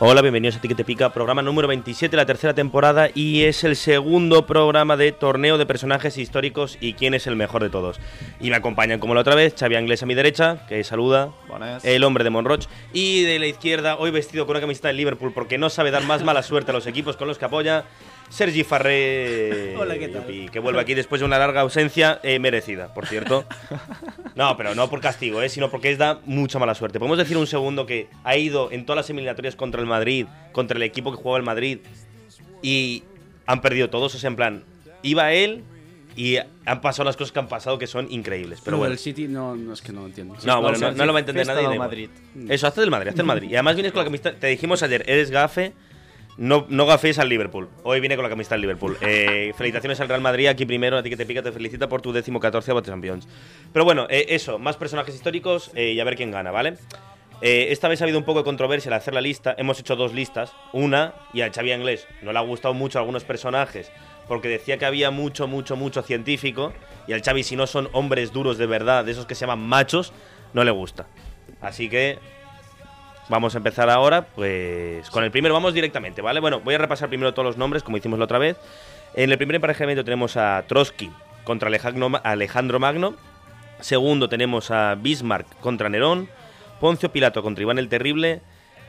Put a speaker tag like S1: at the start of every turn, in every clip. S1: Hola, bienvenidos a Ti que te pica, programa número 27 de la tercera temporada y es el segundo programa de torneo de personajes históricos y quién es el mejor de todos. Y me acompañan como la otra vez Xavi Anglés a mi derecha, que saluda,
S2: Bones.
S1: el hombre de Monroch, y de la izquierda, hoy vestido con una camiseta de Liverpool porque no sabe dar más mala suerte a los equipos con los que apoya, Sergi Farré,
S3: Hola, ¿qué tal?
S1: Yupi, que vuelve aquí después de una larga ausencia eh, merecida, por cierto. No, pero no por castigo, ¿eh? sino porque es da mucha mala suerte. Podemos decir un segundo que ha ido en todas las eliminatorias contra el Madrid, contra el equipo que jugaba el Madrid, y han perdido todos. O sea, en plan, iba él y han pasado las cosas que han pasado que son increíbles. Pero
S3: Lo
S1: bueno.
S3: del City no, no es que no lo entiendo.
S1: No, bueno, no, no lo va a entender
S2: Fiesta
S1: nadie.
S2: del
S1: da igual.
S2: Madrid.
S1: Eso, hazte del Madrid, hazte del Madrid. Y además vienes con la camiseta. Te dijimos ayer, eres gafe, no, no gaféis al Liverpool. Hoy viene con la camiseta del Liverpool. Eh, felicitaciones al Real Madrid, aquí primero, a ti que te pica, te felicita por tu décimo catorceavo Champions. Pero bueno, eh, eso, más personajes históricos eh, y a ver quién gana, ¿vale? Eh, esta vez ha habido un poco de controversia al hacer la lista. Hemos hecho dos listas. Una, y a Xavi Anglés no le ha gustado mucho a algunos personajes porque decía que había mucho, mucho, mucho científico. Y al Xavi, si no son hombres duros de verdad, de esos que se llaman machos, no le gusta. Así que vamos a empezar ahora, pues con el primero vamos directamente, ¿vale? Bueno, voy a repasar primero todos los nombres, como hicimos la otra vez. En el primer emparejamiento tenemos a Trotsky contra Alejandro Ma- Alejandro Magno. Segundo tenemos a Bismarck contra Nerón, Poncio Pilato contra Iván el Terrible,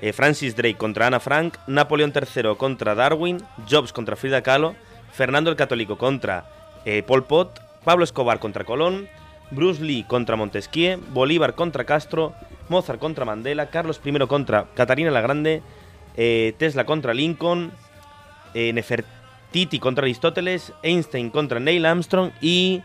S1: eh, Francis Drake contra Ana Frank, Napoleón III contra Darwin, Jobs contra Frida Kahlo, Fernando el Católico contra eh, Pol Pot, Pablo Escobar contra Colón, Bruce Lee contra Montesquieu, Bolívar contra Castro, Mozart contra Mandela, Carlos I contra Catarina la Grande, eh, Tesla contra Lincoln, eh, Nefertiti contra Aristóteles, Einstein contra Neil Armstrong y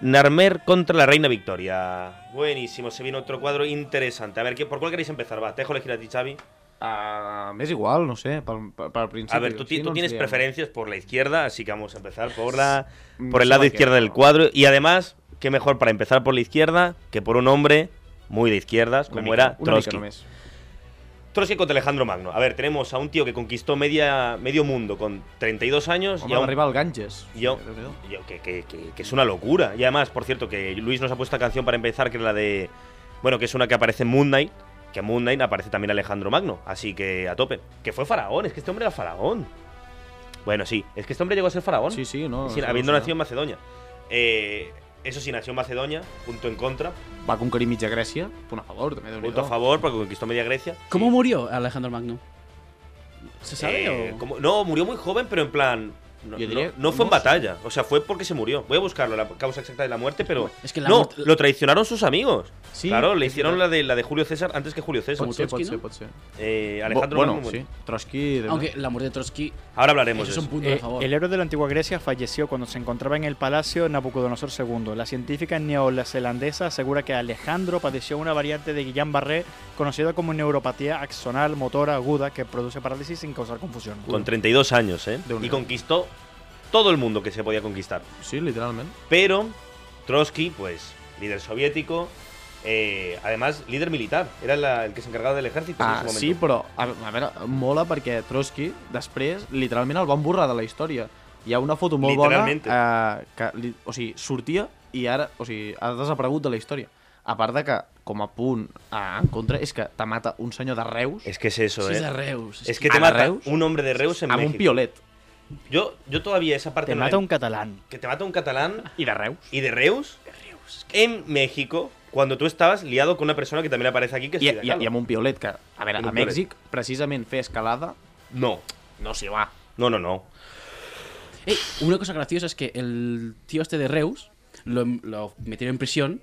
S1: Narmer contra la Reina Victoria. Buenísimo, se viene otro cuadro interesante. A ver, ¿qué- ¿por cuál queréis empezar? Va, te dejo elegir a ti, Xavi.
S2: Ah, m'és igual, no sé, pel, pel, pel principi.
S1: A ver, tú, ti-
S2: Així
S1: tú
S2: no ens
S1: tienes
S2: liem.
S1: preferencias por la izquierda, así que vamos a empezar por la
S2: No
S1: por el
S2: sé
S1: lado
S2: per què,
S1: izquierdo del
S2: no.
S1: cuadro. Y además, qué mejor para empezar por la izquierda que por un hombre muy de izquierdas,
S2: Una
S1: como
S2: mica,
S1: era
S2: una mica
S1: Trotsky.
S2: només.
S1: Trotsky contra Alejandro Magno. A ver, tenemos a un tío que conquistó media, medio mundo con 32 años
S2: Home,
S1: y
S2: va
S1: a un
S2: arribar al Ganges. Eh,
S1: Yo,
S2: Déu-n'hi-do.
S1: yo- que, que- que- que es una locura. Y además, por cierto, que Luis nos ha puesto esta canción para empezar, que es la de. Bueno, que es una que aparece en Moon Knight. Que en Moon Knight aparece también Alejandro Magno. Así que a tope. Que fue faraón, es que este hombre era faraón. Bueno, sí, es que este hombre llegó a ser faraón.
S2: Sí, sí, no.
S1: sin-
S2: no sé,
S1: habiendo
S2: no sé.
S1: nacido en Macedonia. Eh, eso sí, nació en Macedonia, punto en contra.
S2: Va conquerir mitja Grècia. Punt a favor, també, déu nhi
S1: Punto a favor, porque conquistó media Grecia.
S3: ¿Cómo murió Alejandro Magno? ¿Se sabe
S1: Eh,
S3: o...?
S1: como- no, murió muy joven, pero en plan. No,
S2: Yo diría-
S1: no- no fue en
S2: no sé.
S1: batalla, o sea, fue porque se murió. Voy a buscarlo, la causa exacta de la muerte, pero.
S3: Es que la
S1: no,
S3: muerte-
S1: lo traicionaron sus amigos.
S2: Sí,
S1: claro, le
S2: es
S1: hicieron la
S2: verdad.
S1: de, la de Julio César antes que Julio César.
S2: Pot ser, pot
S3: Trotsky,
S2: ser,
S3: no?
S2: pot ser.
S1: Eh,
S2: Alejandro
S1: Alejandro
S2: bueno,
S1: Magno murió.
S2: sí. Trotsky... déu-n'hi-do.
S3: Aunque la muerte de Trotsky
S1: Ahora hablaremos de
S3: eso es un
S1: eso.
S3: punto de
S4: Eh,
S3: favor.
S4: El héroe de la antigua Grecia falleció cuando se encontraba en el palacio Nabucodonosor II. La científica neozelandesa asegura que Alejandro padeció una variante de Guillain-Barré conocida como neuropatía axonal motora aguda que produce parálisis sin causar confusión.
S1: Con 32 años, ¿eh?
S2: De un
S1: Y
S2: lado.
S1: conquistó todo el mundo que se podía conquistar.
S2: Sí, literalment.
S1: Pero Trotsky, pues, líder soviético, eh, además líder militar, era la- el que se encargaba del ejército en
S2: Ah,
S1: ese momento.
S2: sí, però a, a veure, mola perquè Trotsky després literalment el van borrar de la història. Hi ha una foto molt bona
S1: Literalmente.
S2: eh, que, li, o sigui, sortia i ara, o sigui, ha desaparegut de la història. A part de que, com a punt a, en contra, és que te mata un senyor de Reus
S1: Es que es eso,
S3: Sí,
S1: ¿eh?
S3: es de Reus.
S1: Es que
S2: ¿A
S1: te mata
S2: Reus?
S1: un hombre de Reus en
S2: amb un
S1: México.
S2: piolet.
S1: Yo, yo todavía esa parte
S4: Te
S1: no la
S4: mata
S1: en-
S4: un catalán.
S1: que te mata un catalán
S2: I de Reus.
S1: y de Reus, en México cuando tú estabas liado con una persona que también aparece aquí que es
S2: I,
S1: Frida
S2: i,
S1: Kahlo.
S2: I amb un piolet, que, a
S1: I
S2: veure,
S1: amb
S2: a
S1: un piolet.
S2: Mèxic, precisament fer escalada,
S1: No,
S2: no s'hi va.
S1: no, no, no.
S3: Ey, una cosa graciosa es que el tío este de Reus lo, em, lo metieron en prisión,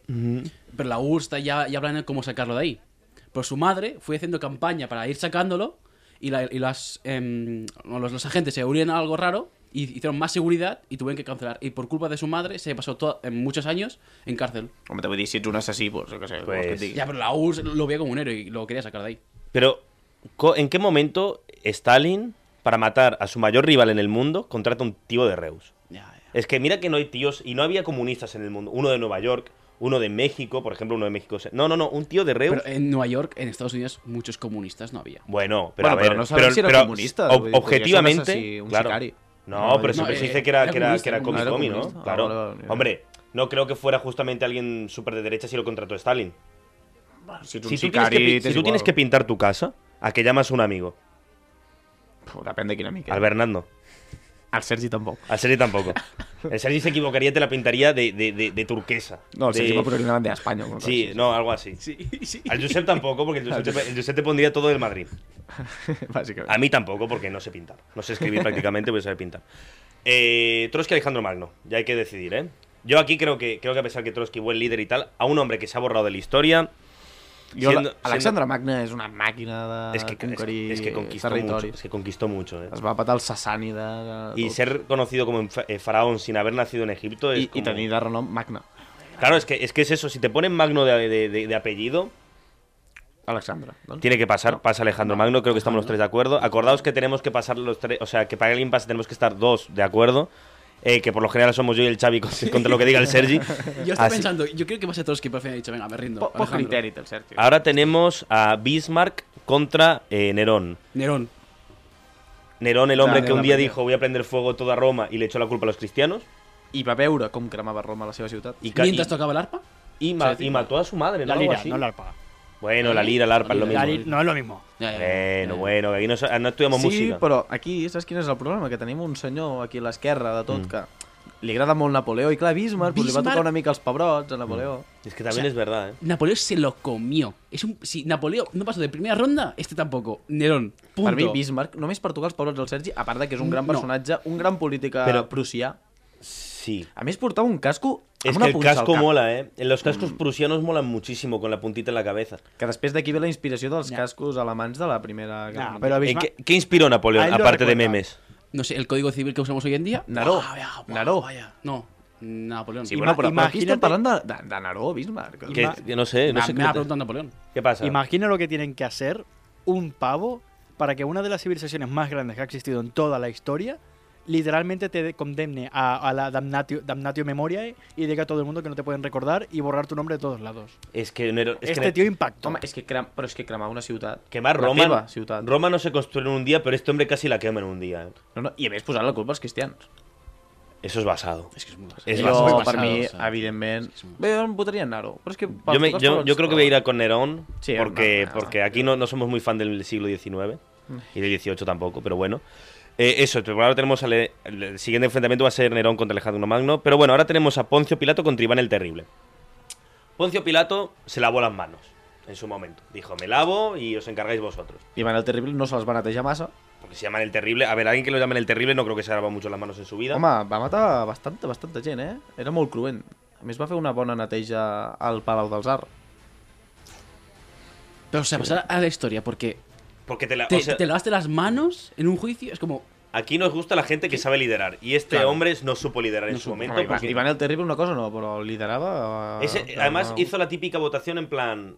S3: pero la URSS está ya, ya hablando de cómo sacarlo de ahí. Pero su madre fue haciendo campaña para ir sacándolo y, la- y las, em, los, los agentes se unieron a algo raro y hicieron más seguridad y tuvieron que cancelar. Y por culpa de su madre se pasó to- en muchos años en cárcel.
S2: Home, te vull dir, si ets un assassí, pues, jo què sé, què vols que
S1: Pues-
S2: et digui?
S3: Ya, pero la URSS lo veía como un héroe y lo quería sacar de ahí.
S1: Pero co- ¿en qué momento Stalin para matar a su mayor rival en el mundo contrata un tío de Reus?
S3: Ya, ya.
S1: Es que mira que no hay tíos, y no había comunistas en el mundo. Uno de Nueva York, uno de México, por ejemplo, uno de México. se- No, no, no, un tío de Reus.
S3: Pero en Nueva York, en Estados Unidos, muchos comunistas no había.
S1: bueno, pero
S2: Bueno,
S1: a ver,
S2: pero no sabes si era comunista,
S1: ob-
S2: porque eso no es
S1: objetivamente,
S2: así, un
S1: claro.
S2: sicario.
S1: No,
S2: No,
S1: pero
S2: no,
S1: siempre
S3: eh,
S1: se dice que era,
S3: era
S1: que era, que
S3: comunista,
S1: era
S3: era
S1: Comi
S2: comunista.
S1: Comi,
S2: Ah,
S1: ¿no?
S2: vale,
S1: Claro.
S2: vale, vale.
S1: Hombre, no creo que fuera justamente alguien súper de derecha si lo contrató Stalin.
S2: Si
S1: Si tú, tienes que, pi- si tú tienes que pintar tu casa, ¿a qué llamas un amigo?
S2: Depèn de quina mica.
S1: Al Bernardo.
S2: El Sergi tampoc.
S1: Al Sergi tampoco. El Sergi se equivocaría, te la pintaría de, de- de- de turquesa.
S2: No, el Sergi
S1: De-
S2: va posar una bandera a Espanya. o alguna cosa
S1: Sí,
S2: així.
S1: no, algo así.
S3: Sí, sí.
S1: Al Josep tampoco, porque el Josep, te, el Josep te pondría todo del Madrid.
S2: Bàsicament.
S1: A mí tampoco, porque no sé pintar. No sé escribir prácticamente, voy a saber pintar. Eh, Trotsky Alejandro Magno, ya hay que decidir, ¿eh? Yo aquí creo que, creo que a pesar que Trotsky, buen líder y tal, a un hombre que se ha borrado de la historia.
S2: Jo,
S1: siendo-
S2: Alexandre Magna és una màquina
S1: siendo-
S2: de
S1: es que, es-
S2: conquerir
S1: es que conquistó mucho.
S2: territoris.
S1: Es que conquistó mucho, ¿eh?
S2: Es va patar el sassànida de... de
S1: Y
S2: tot.
S1: ser conocido como en fa- eh, faraón sin haber nacido en Egipto es
S2: I, i
S1: como-
S2: tenir de renom Magna.
S1: Claro, es que, es que es eso. Si te ponen Magno de, de- de- de apellido,
S2: Alexandre. Doncs.
S1: tiene que pasar. Pasa Alejandro Magno. Creo que estamos los tres de acuerdo. Acordaos que tenemos que pasar los tres. O sea, que para el impasse tenemos que estar dos de acuerdo. eh, que por lo general somos yo y el Xavi con- contra lo que diga el Sergi.
S3: Yo estaba
S1: Así-
S3: pensando, yo creo que va a ser Trotsky, pero al final he dicho, venga, me rindo.
S2: Po- Poc
S3: Alejandro.
S2: criteri té el Sergi.
S1: Ahora tenemos a Bismarck contra eh, Nerón.
S3: Nerón.
S1: Nerón, el hombre
S2: Dale,
S1: que un
S2: la
S1: día
S2: primera.
S1: dijo voy a prender fuego toda Roma y le echó la culpa a los cristianos.
S2: I va veure com cremava Roma la seva ciutat.
S1: Y, ca- y-
S3: Mientras tocaba el arpa,
S1: y ma- y mató a su madre, ¿no?
S4: La
S1: Algo
S4: lira,
S1: así.
S4: no la arpa.
S1: Bueno, la lira, el arpa, es lo
S3: La
S4: La
S1: mismo.
S4: lira, no es lo mismo.
S3: Ya, ya, ya, ya,
S1: Bueno,
S3: ya.
S1: bueno, que aquí no, so- ah, no estudiamos
S2: sí,
S1: música.
S2: però aquí, saps quin és el problema? Que tenim un senyor aquí a l'esquerra de tot
S1: Mm.
S2: que li agrada molt Napoleó i clar, Bismarck, Bismarck... Doncs li va
S3: Bismarck-
S2: tocar una mica els pebrots a Napoleó.
S1: Es que también
S3: O sea,
S1: es verdad, ¿eh?
S3: Napoleón se lo comió. Es un, si Napoleón no pasó de primera ronda, este tampoco. Nerón. Punto.
S2: Per mi, Bismarck, només per tocar els pebrots del Sergi, a part de que és un gran
S3: No.
S2: personatge, un gran polític
S1: Però-
S2: Però... prussià.
S1: Sí.
S2: A més, portava un casco amb
S1: Es
S2: una
S1: que el
S2: punxa al
S1: casco
S2: cap,
S1: mola, ¿eh? Los cascos prusianos molan muchísimo con la puntita en la cabeza.
S2: Que després d'aquí ve la inspiració dels
S3: Ja.
S2: cascos alamans de la primera... Guerra
S4: No,
S2: Mundial.
S4: pero
S1: Eh,
S4: Bismarck,
S1: ¿Qué, qué inspiró
S4: A
S1: Napoleón,
S4: él lo
S1: aparte de
S4: recuerda.
S1: memes?
S3: No sé, el código civil que usamos hoy en día.
S2: Naró.
S3: Ah, vaya, guau,
S2: Naró.
S3: Vaya. No, Napoleón.
S2: Sí,
S3: Me-
S4: Ima-
S2: bueno, però, però aquí estem
S4: imagina't-
S2: parlant de, de, de Naró, Bismarck.
S1: Que- que no sé, no sé
S3: me
S1: qué,
S3: ha preguntado Napoleón.
S1: qué pasa.
S4: Imagina lo que tienen que hacer un pavo para que una de las civilizaciones más grandes que ha existido en toda la historia literalmente te de- condemne a, a la damnatio, damnatio memoriae y diga a todo el mundo que no te pueden recordar y borrar tu nombre de todos lados.
S1: Es que Nerón- es que
S4: este
S1: Ne-
S4: tío impactó.
S2: Home, és que crem... però és que cremar una ciutat...
S1: quemar
S2: La teva
S1: Roma.
S2: ciutat.
S1: Roma no se construyó en un día, pero este hombre casi la quema en un día. ¿eh?
S2: No, no, I a més posar la culpa als cristians.
S1: Eso es basado.
S3: Es que es muy basado.
S1: Es
S2: jo,
S1: basado.
S3: basado,
S2: per mi,
S3: o sea,
S2: evidentment...
S3: és molt-
S2: Bé, jo em votaria en Naro, però és que...
S1: Yo, me- yo- yo creo que voy a ir a con Nerón,
S2: Sí,
S1: porque,
S2: no, no, no.
S1: porque aquí no, no somos muy fan del siglo XIX
S3: Mm.
S1: y del XVIII tampoco, pero bueno. Eh, eso, pero ahora tenemos al- el, el siguiente enfrentamiento va a ser Nerón contra Alejandro Magno, pero bueno, ahora tenemos a Poncio Pilato contra Iván el Terrible. Poncio Pilato se lavó las manos en su momento. Dijo, me lavo y os encargáis vosotros.
S2: Ivan el Terrible no se les va netejar massa.
S1: Porque se llaman el Terrible. A ver, alguien que lo llamen el Terrible no creo que se lava mucho las manos en su vida.
S2: Home, va matar bastanta, bastanta gent, eh? Era molt cruent. A més, va fer una bona neteja al Palau del Zar.
S3: Pero, o sea, pasar a la historia, porque
S1: Porque te la- o
S3: te,
S1: sea,
S3: te lavaste las manos en un juicio, es como.
S1: aquí nos gusta la gente que sabe liderar. Y este
S3: Claro.
S1: hombre no supo liderar en
S3: No
S1: su
S3: supo.
S1: momento.
S2: No, Ivan,
S1: porque-
S2: Ivan el Terrible una cosa no, però liderava... eh,
S1: Ese-
S2: no,
S1: además
S2: no.
S1: hizo la típica votación en plan...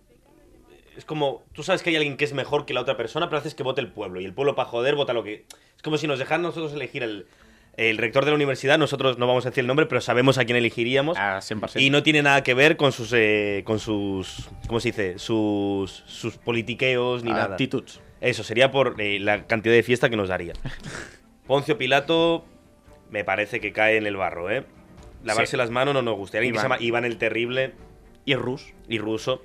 S1: Es como, tú sabes que hay alguien que es mejor que la otra persona, pero haces que vote el pueblo. Y el pueblo, para joder, vota lo que... Es como si nos dejaran nosotros elegir el, el rector de la universidad. Nosotros no vamos a decir el nombre, pero sabemos a quién elegiríamos.
S2: Ah, 100%.
S1: y no tiene nada que ver con sus... eh, con sus ¿Cómo se dice? Sus, sus politiqueos ni nada.
S2: Actituds.
S1: Eso, sería por eh, la cantidad de fiesta que nos daría. Poncio Pilato me parece que cae en el barro, ¿eh? Lavarse
S2: Sí.
S1: las manos no nos gusta. Alguien que se
S2: Iván.
S1: llama Iván el Terrible
S2: I és rus.
S1: y ruso.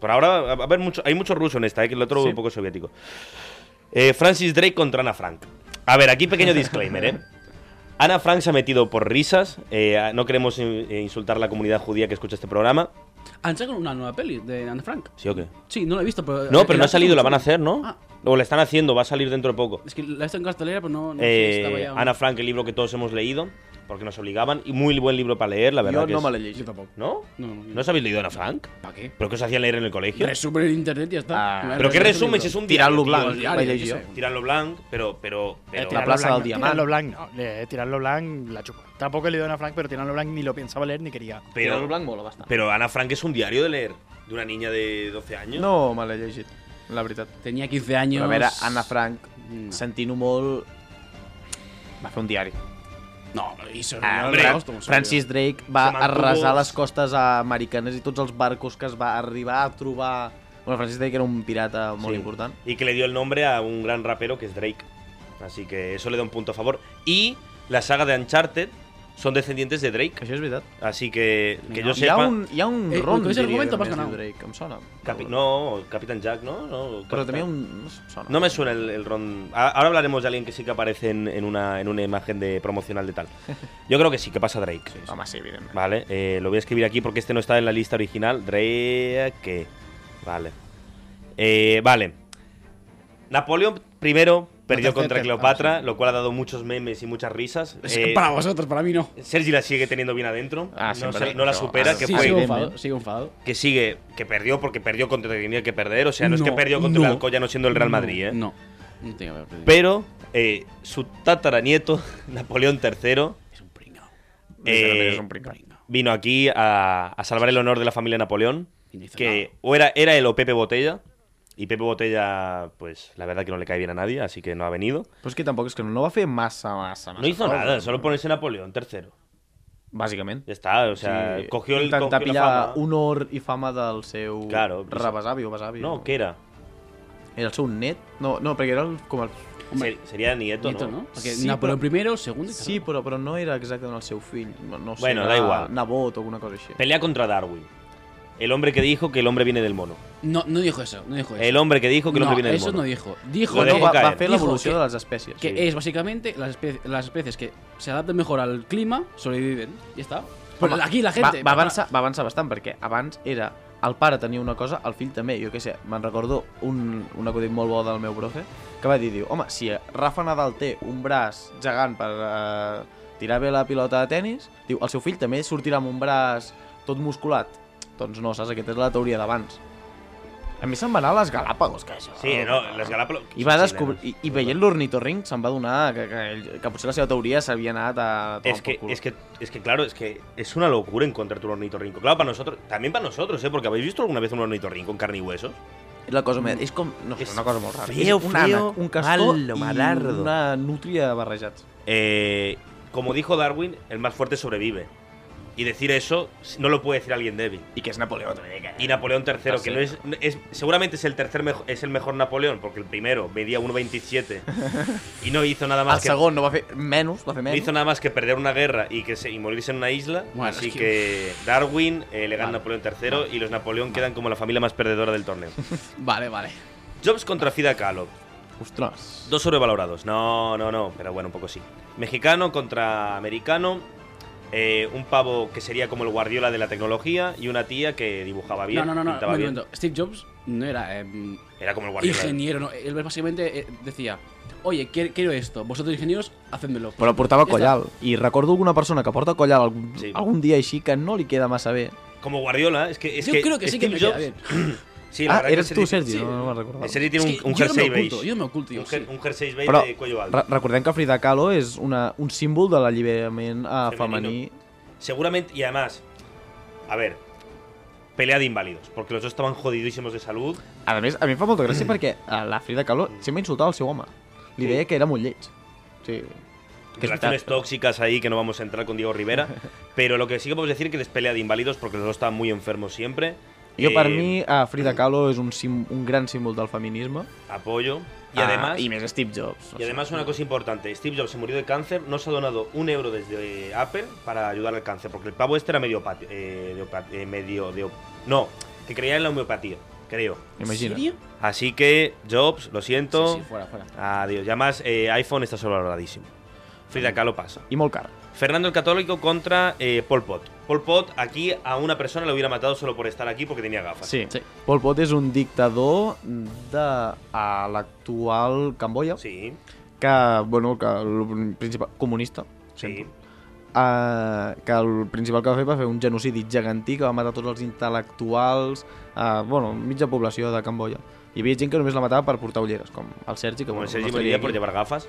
S1: Por ahora, a- a ver, mucho, hay mucho ruso en esta, ¿eh? que el otro
S2: Sí.
S1: un poco soviético. Eh, Francis Drake contra Ana Frank. A ver, aquí pequeño disclaimer, ¿eh? Ana Frank se ha metido por risas. eh, a- no queremos in- eh, insultar a la comunidad judía que escucha este programa.
S3: Han sacado una nueva peli de Anne Frank.
S1: ¿Sí o qué?
S3: Sí, no la he visto, pero.
S1: No,
S3: el-
S1: pero
S3: el
S1: no ha
S3: arte
S1: salido,
S3: me
S1: la van a
S3: gusta.
S1: hacer, ¿no?
S3: Ah.
S1: O la están haciendo, va a salir dentro de poco.
S3: Es que la he visto en cartelera, pero no. no sé,
S1: Eh,
S3: estaba ya-
S1: Ana Frank, el libro que todos hemos leído, porque nos obligaban, y muy buen libro para leer, la verdad.
S2: Jo
S1: que
S2: no
S1: es-
S2: me l'he
S3: Yo
S2: llegit.
S3: tampoco.
S1: ¿No?
S3: No, no,
S1: ¿No os habéis leído Ana Frank?
S3: ¿Para qué?
S1: ¿Pero qué os hacían leer en el colegio?
S3: Resumen en internet y ya está.
S2: Ah.
S3: Me
S1: ¿Pero qué
S3: parece
S1: resumen?
S3: un libro.
S1: Si es un diario,
S2: Tirant-lo blanc,
S1: tío,
S3: diario,
S2: vaig
S3: jo
S2: llegir.
S3: sé.
S1: Tirarlo blanc, pero. pero, pero-
S2: La plaza del
S4: Eh,
S2: diamante.
S4: Tirarlo blanc, no. le- tirarlo blanc, la chupa. Tampoco le dio a Frank, pero tirarlo blanc ni lo pensaba leer ni quería.
S1: pero-
S2: Tirant-lo blanc mola bastant.
S1: pero Ana Frank es un diario de leer de una niña de 12 años.
S2: No me l'he llegit, la veritat.
S3: Tenía 15 años. Mm.
S2: Però a veure, Anna Frank,
S3: No.
S2: sentint-ho molt... Va fer un diari.
S3: No, no hizo.
S2: Ah,
S3: no,
S1: hombre,
S3: no, hostia, un servidor.
S2: Francis Drake va
S1: Se mantuvo-
S2: arrasar les costes americanes i tots els barcos que es va arribar a trobar... Bueno, Francis Drake era un pirata molt
S1: Sí.
S2: important.
S1: Y que le dio el nombre a un gran rapero que es Drake. Así que eso le da un punto a favor. Y la saga de Uncharted son descendientes de Drake.
S2: Això és veritat.
S1: Así que que
S3: Venga,
S1: yo
S2: Hi ha
S1: sepa.
S2: un, hi ha un
S3: Eh,
S2: ron,
S3: lo que és el
S2: diria,
S3: argumento
S2: que
S3: más
S2: més diu
S3: ganado.
S2: Drake, em sona.
S1: Capi- no, Capitán Jack, ¿no? no
S2: Però
S1: Capitán-
S2: també un... No, sé, em sona.
S1: No me suena el, el ron. A- Ahora hablaremos de alguien que sí que aparece en, en una, en una imagen de promocional de tal. Yo creo que sí, que pasa Drake.
S2: Home, sí, evidentment.
S1: Vale, eh, lo voy a escribir aquí porque este no está en la lista original. Drake. Vale. Eh, vale. Napoleón I perdió
S4: Napoleón
S1: contra
S4: III,
S1: Cleopatra,
S4: ah, sí.
S1: lo cual ha dado muchos memes y muchas risas.
S3: Es
S1: Eh,
S3: que para vosotros, para mí no.
S1: Sergi la sigue teniendo bien adentro.
S2: Ah,
S1: no,
S2: siempre.
S1: se- no la
S2: No,
S1: supera,
S2: ah,
S1: que
S3: sí,
S1: fue.
S3: sigo
S2: Evidentment.
S3: enfadado, sigo enfadado.
S1: Que sigue, que perdió porque perdió contra el que tenía que perder. O sea, no, es que
S3: No,
S1: perdió contra el
S3: no.
S1: Alcoya no siendo el Real
S3: No,
S1: Madrid, ¿eh?
S3: No, no tiene que haber perdido.
S1: Pero eh, su tataranieto, Napoleón III,
S3: Es un pringao.
S1: eh,
S2: és un pringao.
S3: pringao.
S1: vino aquí a, a salvar el honor de la familia Napoleón.
S3: Y no hizo
S1: Que
S3: nada.
S1: o era, era él o Pepe Botella. Y Pepe Botella, pues la verdad que no le cae bien a nadie, así que no ha venido.
S2: Però és que tampoc és que no va fer massa, massa, massa.
S1: No hizo
S2: cosa.
S1: nada, solo ponerse Napoleón III.
S2: Bàsicament.
S1: Ya está, o sea,
S2: Sí,
S1: cogió el
S2: intentar
S1: cogió la
S2: pillar
S1: fama.
S2: honor i fama del seu
S1: Claro, i-
S2: rebesavi o besavi.
S1: No, ¿qué era?
S2: Era el seu net? No, no perquè era el, com el...
S3: Hombre,
S1: Ser- sería nieto,
S3: Nieto,
S1: ¿no?
S3: ¿no? Porque
S2: Sí,
S3: Napoleón
S2: pero-
S3: primero, segundo y
S2: Sí,
S3: tercero.
S2: però, però no era exactament el seu fill. No, no sé,
S1: Bueno,
S2: era
S1: da igual.
S2: Nebot o alguna cosa així.
S1: Pelea contra Darwin. El hombre que dijo que el hombre viene del mono.
S3: No, no dijo eso, no dijo eso.
S1: El hombre que dijo que el
S3: Pues no,
S1: hombre viene del
S3: eso
S1: mono.
S3: no dijo. Dijo
S1: Lo
S2: No,
S3: que-
S1: dejó
S2: va,
S1: caer.
S2: va fer
S3: Dijo
S2: l'evolució
S3: que-
S2: de les espècies.
S3: que
S1: sí.
S3: es básicamente las especies, las especies que se adaptan mejor al clima sobreviven. Ya está.
S2: Home,
S3: Pero aquí la gente.
S2: Va, va, avançar, va avançar bastant, perquè abans era... El pare tenia una cosa, el fill també. Jo què sé, me'n recordo un, un acudit molt bo del meu profe, que va dir, diu, home, si Rafa Nadal té un braç gegant per eh, tirar bé la pilota de tennis, diu, el seu fill també sortirà amb un braç tot musculat. Doncs no, saps? Aquesta és la teoria d'abans. A mi se'n va anar a les Galàpagos, que això...
S1: Sí, no, les Galápagos.
S2: I va descobrir... I, i veient l'ornitorrinc se'n va donar que, que, ell- que potser la seva teoria s'havia anat a... tomar
S1: Es
S2: por
S1: que,
S2: culo.
S1: es, que, es que, claro, es que es una locura encontrar un ornitorrinco. Claro, para nosotros, también para nosotros, ¿eh? Porque habéis visto alguna vez un ornitorrinco en carne y huesos.
S2: És la cosa més... Mm. És com... No sé,
S1: És
S2: una cosa molt rara.
S1: feo,
S2: és un
S1: feo,
S2: ànec, un castor
S1: malo,
S2: i
S1: malardo.
S2: una nútria barrejats.
S1: Eh, como dijo Darwin, el más fuerte sobrevive. Y decir eso no lo puede decir alguien débil.
S2: I que és Napoleó, també. Que...
S1: Y Napoleón III, que
S2: Tercero.
S1: no es, es- seguramente es el tercer mejo- es el mejor Napoleón, porque el primero medía 1.27 y no hizo nada
S2: El
S1: más que
S2: segon no va fer menys, va fer
S1: no
S2: menys.
S1: hizo nada más que perder una guerra y que se- y morirse en una isla.
S3: Bueno,
S1: Así
S3: es
S1: que...
S3: que-
S1: Darwin eh, le gana
S3: Vale.
S1: a Napoleón III y los Napoleón quedan como la familia más perdedora del torneo.
S3: Vale, vale.
S1: Jobs contra Frida Kahlo.
S2: Ostres.
S1: Dos sobrevalorados. No, no, no, pero bueno, un poco sí. Mexicano contra americano. eh, un pavo que sería como el guardiola de la tecnología y una tía que dibujaba bien.
S3: no, no, no, no.
S1: pintaba
S3: un
S1: bien.
S3: momento. Steve Jobs no era em,
S1: Era como el guardiola.
S3: ingeniero, no. Él básicamente eh, decía, oye, quiero, quiero esto, vosotros ingenieros, hacédmelo.
S2: Però portava
S3: Ja
S2: collal. I recordo alguna persona que porta collal algun,
S1: Sí.
S2: sí. algun dia així que no li queda massa bé.
S1: Como Guardiola, es que. Es
S3: Yo
S1: que
S3: creo que sí que
S1: Steve
S3: me queda
S1: Jobs-
S3: bien.
S1: Sí, la
S2: ah,
S1: verdad que
S2: eres tu, Sergi,
S3: sí.
S2: no, no me'n recordava.
S1: El Sergi tiene
S3: Es que
S1: un, un
S3: yo no
S1: jersey
S3: me oculto,
S1: beige.
S3: yo no me oculto, yo
S1: un, jer-
S3: sí.
S1: un jersey beige
S2: Però
S1: de cuello alto.
S2: re recordem que Frida Kahlo és una, un símbol de l'alliberament
S1: Femenino.
S2: eh, femení.
S1: Seguramente, y además, a ver, pelea de inválidos, porque los dos estaban jodidísimos de salud.
S2: A més, a mi em fa molta gràcia perquè eh, la Frida Kahlo sempre insultava el seu home. Li
S1: Sí.
S2: deia que era molt lleig. Sí. Que és
S1: relaciones
S2: veritat, però-
S1: tóxicas ahí que no vamos a entrar con Diego Rivera. pero lo que sí que podemos decir es que les pelea de inválidos porque los dos estaban muy enfermos siempre.
S2: Jo,
S1: Eh,
S2: per mi, a Frida Kahlo és un, sim, un gran símbol del feminisme.
S1: Apoyo. Y
S2: Ah,
S1: además.
S2: I més Steve Jobs.
S1: Y además una cosa importante, Steve Jobs se murió de cáncer, no se ha donado un euro desde Apple para ayudar al cáncer, porque el pavo este era medio, pat- eh, de opa- eh, medio de op- no, que creía en la homeopatía, creo.
S3: ¿En
S2: Imagina.
S3: serio?
S1: Así que Jobs, lo siento,
S3: Sí, sí, fuera, fuera.
S1: adiós. Y además eh, iPhone está sobrevaloradísimo. Frida Kahlo pasa.
S2: I molt car.
S1: Fernando el Católico contra eh, Pol Pot. Pol Pot aquí a una persona le hubiera matado solo por estar aquí porque tenía gafas.
S2: Sí.
S3: Sí.
S2: Pol Pot és un dictador de a l'actual Camboya,
S1: Sí,
S2: que, bueno, que el principal... comunista.
S1: sí.
S2: Uh, que el principal que va fer va fer un genocidi gegantí que va matar tots els intel·lectuals, uh, bueno, mitja població de Camboya. Hi havia gent que només la matava per portar ulleres, com el Sergi, que
S1: como el
S2: bueno,
S1: Sergi
S2: no estaria
S1: Moreira por
S2: aquí.
S1: llevar gafas.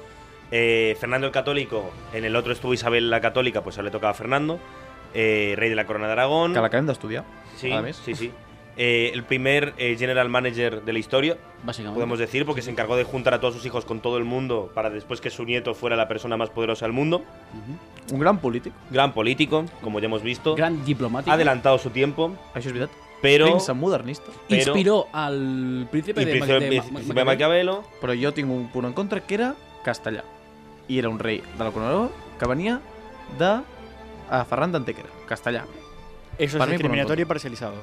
S1: Eh, Fernando el Católico, en el otro estuvo Isabel la Católica, pues ahora le tocaba a Fernando. Eh, Rey de la Corona de Aragón.
S2: que l'acabem d'estudiar.
S1: sí,
S2: a més.
S1: sí, sí. eh, el primer eh, general manager de la historia,
S2: Ah.
S3: básicamente.
S1: podemos decir, porque se encargó de juntar a todos sus hijos con todo el mundo para después que su nieto fuera la persona más poderosa del mundo.
S2: Un gran político.
S1: Gran político, como ya hemos visto.
S3: Gran diplomático.
S1: Ha adelantado su tiempo,
S2: Això és veritat.
S1: pero.
S2: Príncep modernista.
S1: pero-
S3: Inspiró al príncipe
S1: Y
S3: de, Ma-
S1: príncipe-
S3: de Ma- Ma-
S1: príncipe
S3: Maquiavel.
S1: Maquiavelo.
S2: Però jo tinc un punt en contra que era castellà. I era un rei de la corona que venia de a Ferran d'Antequera, castellà.
S4: Eso
S2: Para
S4: es
S2: mí,
S4: discriminatorio y parcializado.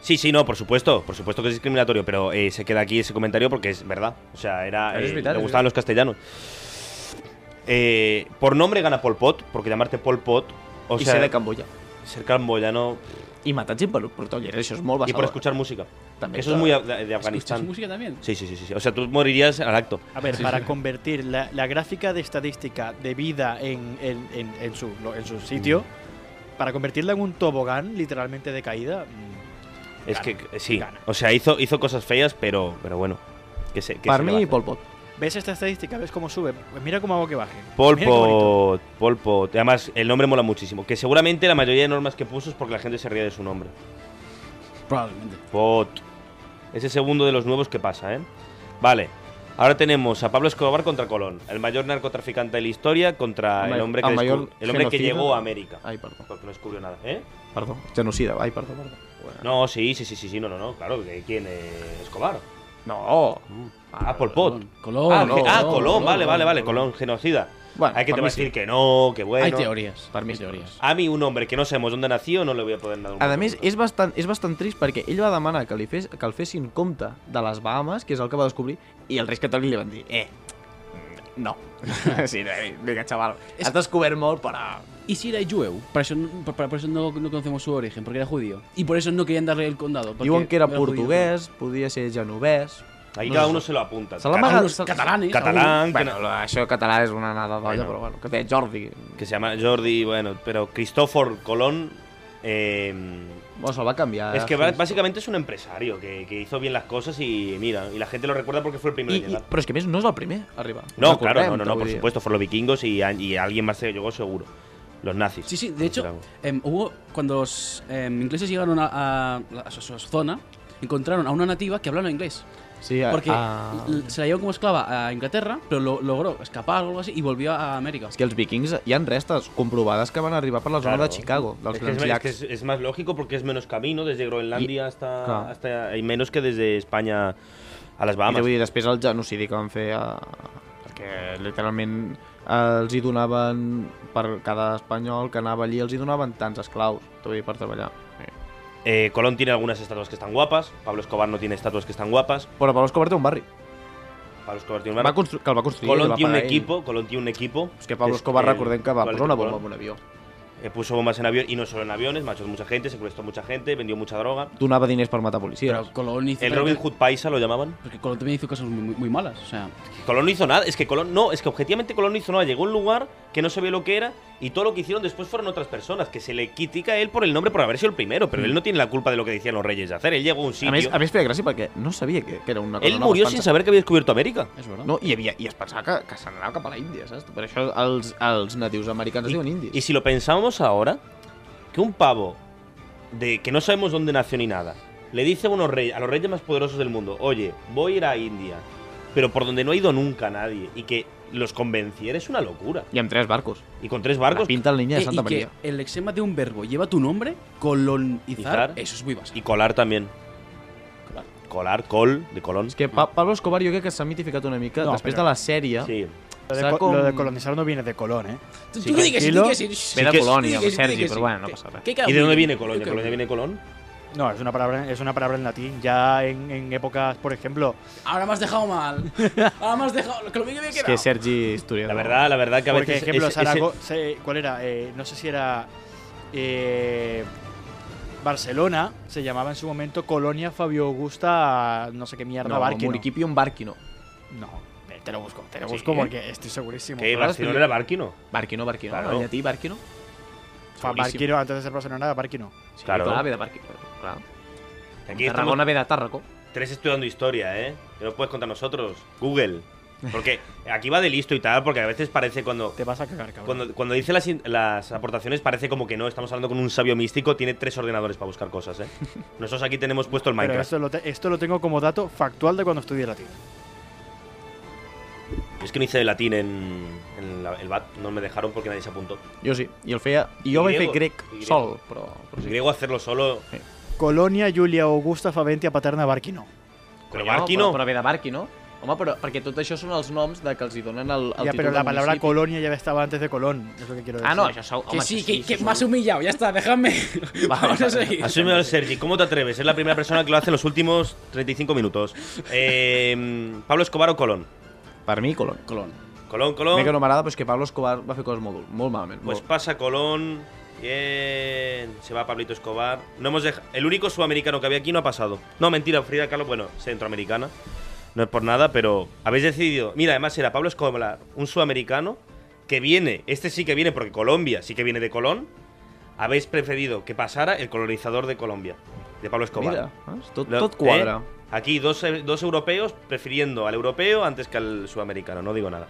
S1: Sí, sí, no, por supuesto, por supuesto que es discriminatorio, pero eh, se queda aquí ese comentario porque es verdad. O sea, era,
S2: Es
S1: eh,
S2: vital,
S1: le
S2: es
S1: gustaban los castellanos. Eh, por nombre gana Pol Pot, porque llamarte Pol Pot, o
S2: O I
S1: sea,
S2: ser de Camboya.
S1: ser camboyano
S2: I matats i per portolleres, això és
S1: y
S2: molt basado.
S1: por escuchar música.
S2: También,
S1: Eso es
S2: claro.
S1: muy de, de
S3: ¿Escuchas
S1: Afganistán.
S3: música también?
S1: Sí, sí, sí, sí, sí. O sea, tú morirías al acto.
S4: A ver,
S3: Sí,
S4: para
S3: sí.
S4: convertir la, la gráfica de estadística de vida en, en- en- en su, lo- en su sitio,
S1: Mm.
S4: para convertirla en un tobogán literalmente de caída, mm,
S1: Es que eh, sí.
S4: gana.
S1: O sea, hizo, hizo cosas feas, pero, pero bueno. Que se, que
S2: Per
S1: se le va a
S2: mi i
S1: hacer.
S2: Pol Pot.
S4: ves esta estadística, ves cómo sube, pues mira cómo hago que baje.
S1: Pol
S4: Mira qué bonito.
S1: Pot, Pol Pot. Además, el nombre mola muchísimo. Que seguramente la mayoría de normas que puso es porque la gente se ría de su nombre.
S3: Probablemente.
S1: Pot. Ese segundo de los nuevos que pasa, ¿eh? Vale. Ahora tenemos a Pablo Escobar contra Colón, el mayor narcotraficante de la historia contra
S2: Home,
S1: el hombre que,
S2: el mayor Ah.
S1: descub- el hombre que
S2: genocida.
S1: llegó a América.
S2: Ai, perdó.
S1: Porque no descubrió nada, ¿eh?
S2: Perdó. Genocida. Ai, perdó, perdó. Bueno.
S1: No, sí, sí, sí, sí, sí, no, no, no, claro, que quién eh, Escobar.
S2: No.
S1: Ah, Pol Pot.
S3: Colón. Colón,
S1: ah,
S2: Colón,
S1: ge- ah,
S2: Colón,
S1: Colón, vale, vale, vale, Colón, genocida.
S2: Bueno,
S1: Hay que te
S2: para
S1: va
S2: mí
S1: a decir
S2: sí.
S1: que no, que bueno.
S3: Hay teorías.
S2: Per mi
S3: Hay
S2: sí.
S3: teorías.
S1: A mí un hombre que no sabemos dónde nació no le voy a poder dar un
S2: A
S1: voto.
S2: més, és bastant, és bastant trist perquè ell va demanar que, li fes, que el fessin compte de les Bahamas, que és el que va descobrir, i els reis catòlics li van dir, eh, mm, no. sí, eh, vinga, xaval,
S3: És-
S2: has descobert molt, però...
S3: ¿Y si era Jueu? Por eso, no- por, por eso no, no conocemos su origen, porque era judío. Y por eso no querían darle el condado. porque
S2: Diuen que era
S3: judío.
S2: portuguès, podia ser genovès...
S1: Ahí
S2: no
S1: cada
S2: sé.
S1: uno se lo apunta.
S2: Se la
S1: Cada
S2: amaga-
S1: uno-
S3: Algunos catalanes.
S1: Catalán, que,
S2: Bueno, això català és una anada d'olla,
S1: Bueno.
S2: però bueno, que té Jordi.
S1: que se llama Jordi, bueno, pero Cristófor Colón. eh,
S2: Bueno, se'l va canviar.
S1: es que ba- básicamente es un empresario que, que hizo bien las cosas y mira, y la gente lo recuerda porque fue el primero
S2: I,
S1: en
S2: i,
S1: llegar.
S2: però és que a més no és el primer a arribar.
S1: No,
S2: Recordem,
S1: claro, no, no, no,
S2: vull
S1: por
S2: dir.
S1: supuesto, fueron los vikingos y, a- y alguien más se llegó seguro. Los nazis.
S3: Sí, sí, de hecho,
S1: Claro.
S3: em, hubo, cuando los em, ingleses llegaron a, a la- a su, a su zona, encontraron a una nativa que hablaba inglés.
S2: Sí, a,
S3: Porque
S1: ah.
S2: a...
S3: l- se la llevó como esclava a Inglaterra, pero lo- logró escapar o algo así y volvió a América.
S2: És que els vikings hi han restes comprovades que van arribar per la zona
S1: Claro.
S2: de Chicago, dels
S1: Es que es,
S2: grans
S1: es que es-
S2: llacs.
S1: es más lógico porque es menos camino desde Groenlandia hasta,
S2: claro.
S1: hasta. Hay menos que desde España a las
S2: I
S1: Bahamas.
S2: vull dir, després el genocidi que van fer a... perquè literalment eh, els hi donaven per cada espanyol que anava allí els hi donaven tants esclaus vull dir, per treballar
S1: Eh, Colón tiene algunas estatuas que están guapas. Pablo Escobar no tiene estatuas que están guapas.
S2: però Pablo Escobar té un barri
S1: Pablo Escobar tiene un
S2: va
S1: barco.
S2: constru- que el va construir el
S1: Colón
S2: va
S1: tiene un
S2: pagar ell.
S1: equipo, Colón tiene un equipo.
S2: és que Pablo
S1: Es
S2: Escobar
S1: el-
S2: recordem que va
S1: ¿cuál
S2: pues,
S1: es
S2: posar una
S1: tu
S2: bomba en
S1: Colón?
S2: un avió
S1: Eh, puso bombas en avión y no solo en aviones, mató mucha gente, secuestró mucha gente, vendió mucha droga.
S2: donava diners per matar policies
S3: Pero Colón hizo.
S1: El Robin Hood Paisa lo llamaban.
S3: Porque Colón también hizo cosas muy, muy- muy malas. O sea,
S1: Colón no hizo nada, es que Colón no, es que objetivamente Colón no hizo nada, llegó a un lugar que no sabía lo que era y todo lo que hicieron después fueron otras personas, que se le critica a él por el nombre por haber sido el primero, pero él no tiene la culpa de lo que decían los reyes de hacer, él llegó a un sitio.
S2: a més, a més feia gràcia perquè no sabia que, que era una cosa
S1: él
S2: nova,
S1: murió
S2: es
S1: sin
S2: pensa-
S1: saber que había descubierto América.
S3: es verdad.
S2: no, i, havia, i es pensava que, que se n'anava cap a la Índia, saps? Per això els, els natius americans es diuen indis.
S1: Y si lo pensamos ahora, que un pavo de que no sabemos dónde nació ni nada, le dice a, unos reyes, a los reyes más poderosos del mundo, oye, voy a ir a India, pero por donde no ha ido nunca nadie, y que los convenciera es una locura.
S2: I amb tres barcos.
S1: Y con tres
S2: Barcos.
S1: barcos
S2: La pinta la niña
S3: Eh,
S2: de Santa
S3: y que
S2: Maria.
S3: el lexema de un verbo lleva tu nombre, colonizar.
S1: Izar.
S3: Eso es muy básico.
S1: y colar también. Colar, col, de colón.
S2: És que pa Pablo Escobar jo crec que s'ha mitificat una mica
S4: No,
S2: després
S4: però-
S2: de la sèrie.
S1: Sí.
S4: Lo de,
S2: O sea,
S4: co-
S2: con-
S4: lo de colonizar no viene de Colón, ¿eh?
S3: Tú,
S1: Sí,
S3: tú di que sí, tú di que sí.
S2: Ve de
S3: Sí,
S1: pues,
S3: tú di que sí,
S2: Polonia,
S3: tú di
S2: Sergi,
S3: que
S2: pero
S3: sí.
S2: bueno, no
S3: ¿Qué-
S2: pasa nada.
S3: qué
S1: ¿Y de dónde
S3: cabullo?
S1: viene
S3: ¿Qué
S1: Colón? ¿De
S3: cabullo?
S1: Colonia viene Colón?
S4: No, es una palabra, es una palabra en latín. Ya en, en épocas, por ejemplo,
S3: Ahora me has dejado mal. Ahora me has dejado. Que lo bien que me he
S2: És que
S3: quedado.
S2: Sergi historiador.
S1: La verdad, la verdad que a
S4: por
S1: veces.
S4: ejemplo,
S1: ese- ese-
S4: Zarago- se- ¿cuál era? Eh, no sé si era eh, Barcelona, se llamaba en su momento Colonia Fabio Augusta, no sé qué mierda,
S2: No,
S4: Barquino.
S2: Muriquipi un barquino.
S4: No, eh, te lo busco, te lo
S1: Sí.
S4: busco porque estoy segurísimo.
S1: que Barcelona era Barquino.
S2: Barquino, barquino.
S1: Claro.
S2: Claro. Llatí, barquino.
S4: Fa Barquino, antes de ser Barcelona, era Barquino.
S2: Sí,
S1: Claro.
S2: clar, ve de barquino. Clar.
S1: Aquí
S2: Tarragona
S1: estamos
S2: ve de Tàrraco.
S1: tres estudiando historia, ¿eh? Que no puedes contar nosotros. Google. Porque aquí va de listo y tal, porque a veces parece cuando.
S4: Te vas a cagar, cabrón.
S1: Cuando, cuando dice las, in- las aportaciones parece como que no, estamos hablando con un sabio místico, tiene tres ordenadores para buscar cosas, ¿eh? Nosotros aquí tenemos puesto el
S4: Pero
S1: Minecraft.
S4: esto lo, te- esto lo tengo como dato factual de cuando estudié latín.
S1: Es que no hice latín en, en la- el BAT, no me dejaron porque nadie se apuntó.
S2: Jo sí, i el feia... I jo vaig fer
S1: Griego.
S2: grec
S1: I
S2: sol, però... però
S1: Pues
S2: sí.
S1: griego hacerlo solo,
S4: Colonia, Julia, Augusta, Faventia, Paterna, Barquino.
S1: pero
S2: Coño,
S1: Barqui no.
S2: Però, però ve de Barqui, no? Home, però, perquè tot això són els noms de que els hi donen el, el
S4: Ya,
S2: títol
S4: pero la
S2: del
S4: palabra
S2: municipi.
S4: colonia ya estaba antes de Colón. Es lo que quiero decir.
S2: Ah, no, això segur.
S3: Que
S2: home,
S3: sí,
S2: això
S3: que, que
S2: això
S3: me has
S2: segur.
S3: humillado, ya está, déjame. Vamos a seguir.
S1: Asúmelo, Sergi, ¿cómo te atreves? Es la primera persona que lo hace en los últimos 35 minutos. Eh, Pablo Escobar o Colón.
S2: Per mi, Colón.
S3: Colón.
S1: Colón,
S2: A mi
S1: Colón.
S2: que no m'agrada, però és que Pablo Escobar va fer coses molt, dures, molt malament.
S1: Pues
S2: molt.
S1: pasa Colón. Bien. Se va Pablito Escobar. No hemos dej- El único sudamericano que había aquí no ha pasado. No, mentira, Frida Kahlo, bueno, centroamericana. No es por nada, pero habéis decidido. Mira, además era Pablo Escobar, un sudamericano que viene. Este sí que viene porque Colombia sí que viene de Colón. Habéis preferido que pasara el colonizador de Colombia, de Pablo Escobar.
S2: Mira, veus? tot,
S1: Lo-
S2: tot quadra.
S1: ¿eh? Aquí dos, dos europeos prefiriendo al europeo antes que al sudamericano, no digo nada.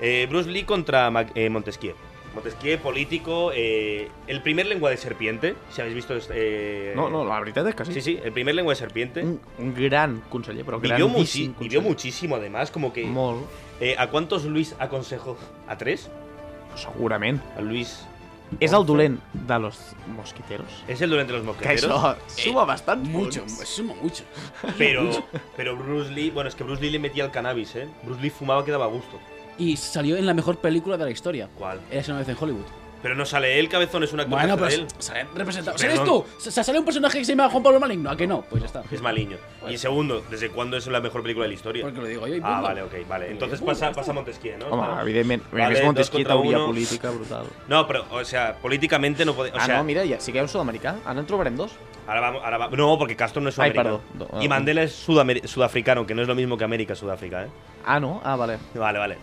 S1: Eh, Bruce Lee contra Ma- eh, Montesquieu. Montesquieu, político, eh, el primer lengua de serpiente, si habéis visto... eh,
S2: No, no, la veritat és que sí.
S1: Sí, sí, el primer lengua de serpiente.
S2: Un, un gran conseller, però
S1: Vivió,
S2: grandíssim
S1: muchi-
S2: conseller.
S1: vivió muchísimo, además, como que...
S2: Molt,
S1: eh, ¿A cuántos Luis aconsejó? ¿A tres?
S2: segurament.
S1: A Luis...
S2: És el dolent de los mosquiteros.
S1: Es el durante los
S2: Que
S1: mosqueteros.
S2: això suma bastant
S3: Mucho,
S2: punts.
S3: suma mucho.
S1: Pero, pero Bruce Lee... Bueno, es que Bruce Lee le metía el cannabis, ¿eh? Bruce Lee fumaba que daba gusto.
S3: Y salió en la mejor película de la historia.
S1: ¿Cuál?
S3: Es una vez en Hollywood.
S1: Pero no sale él, cabezón, es una actor
S3: Bueno,
S1: que hace de
S3: pero
S2: pues-
S1: él.
S3: sale representado.
S1: Perdón.
S3: ¿Eres tú? Se se sale un personaje que se llama Juan Pablo Maligno. ¿A que no? Pues ya está.
S1: Es maliño. Y segundo, ¿desde cuándo es la mejor película de la historia?
S3: Porque lo digo yo. y
S1: Ah,
S3: punto.
S1: vale, ok, vale. Entonces
S3: Bueno,
S1: pasa,
S3: ya está.
S1: pasa Montesquieu, ¿no?
S2: Home,
S1: Claro.
S2: evidentment.
S1: Vale,
S2: Vale, més
S1: dos
S2: Montesquieu
S1: contra
S2: tauria
S1: uno.
S2: política brutal.
S1: No, pero, o sea, políticamente no puede. O
S2: ah,
S1: sea,
S2: no, mira, ja, si quedeu sud-americà, ara en trobarem dos.
S1: ahora vamos. Ahora va- no, porque Castro no es
S2: Ay,
S1: sudamericano.
S2: perdón. No,
S1: y
S2: ah,
S1: Mandela es sudamer- sudafricano, que no es lo mismo que América, Sudáfrica, ¿eh?
S2: Ah, no? Ah, vale.
S1: Vale, vale.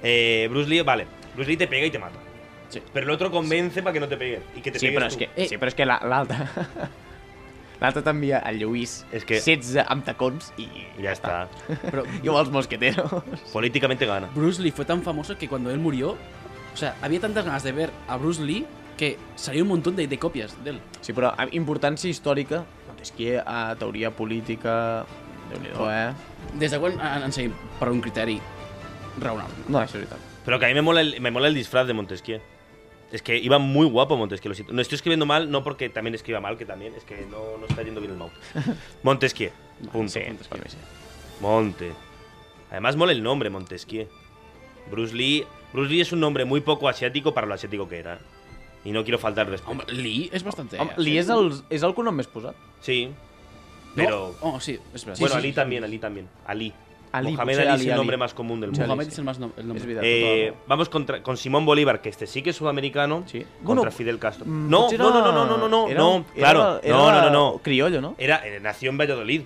S1: Eh, Bruce Lee, vale. Bruce Lee te pega y te mata.
S3: Sí.
S1: Pero el otro convence para que no te peguen. Y que te
S2: Sí,
S1: pegues tú.
S2: però és que,
S3: Eh.
S2: sí, però és que la- l'altre... l'altre t'envia el Lluís,
S1: És que-
S2: 16 amb tacons i...
S1: Y Ya está.
S3: Pero
S2: I amb els mosqueteros.
S1: Políticamente gana.
S3: Bruce Lee fue tan famoso que cuando él murió, o sea, había tantas ganas de ver a Bruce Lee que salió un montón de, de copias de él.
S2: Sí, però amb importància històrica, doncs Montesquieu, a eh, teoria política... déu nhi eh?
S3: Desde cuando han, han seguido para un criterio raonable.
S2: No, això és veritat.
S1: Pero que a mí me mola el, me mola el disfraz de Montesquieu. Es que iba muy guapo Montesquieu. lo siento. No estoy escribiendo mal, no porque también escriba mal, que también es que no, no está yendo bien el mouse. Montesquieu. Punto.
S2: Sí, per mi sí.
S1: Monte. Además mola el nombre Montesquieu. Bruce Lee. Bruce Lee es un nombre muy poco asiático para lo asiático que era. Y no quiero faltar respeto.
S3: Hombre, Lee es bastante. eh,
S2: Home, li és el, és el cognom més posat.
S1: Sí.
S3: ¿No?
S1: Pero.
S3: Oh, sí, espera. sí,
S1: bueno,
S3: sí,
S1: Ali
S3: sí. pues
S1: también, Ali también. Ali.
S2: Ali,
S1: Mohamed Ali,
S2: potser
S1: es
S2: Ali,
S1: el
S2: Ali.
S1: nombre más común del
S2: Potser
S1: mundo.
S2: Ali.
S3: Mohamed es el más nom- el nombre.
S2: És veritat.
S1: Eh,
S2: tota la-
S1: vamos contra, con Simón Bolívar, que este sí que es sudamericano,
S2: Sí.
S1: contra
S2: Bueno,
S1: Fidel Castro.
S2: Mm,
S1: No,
S2: potser
S1: no, no,
S2: era-
S1: no, no, no, no, no,
S2: era-
S1: no,
S2: era-
S1: claro,
S2: era
S1: no, no, no, no.
S2: Criollo, no?
S1: Era, eh, nació en Valladolid.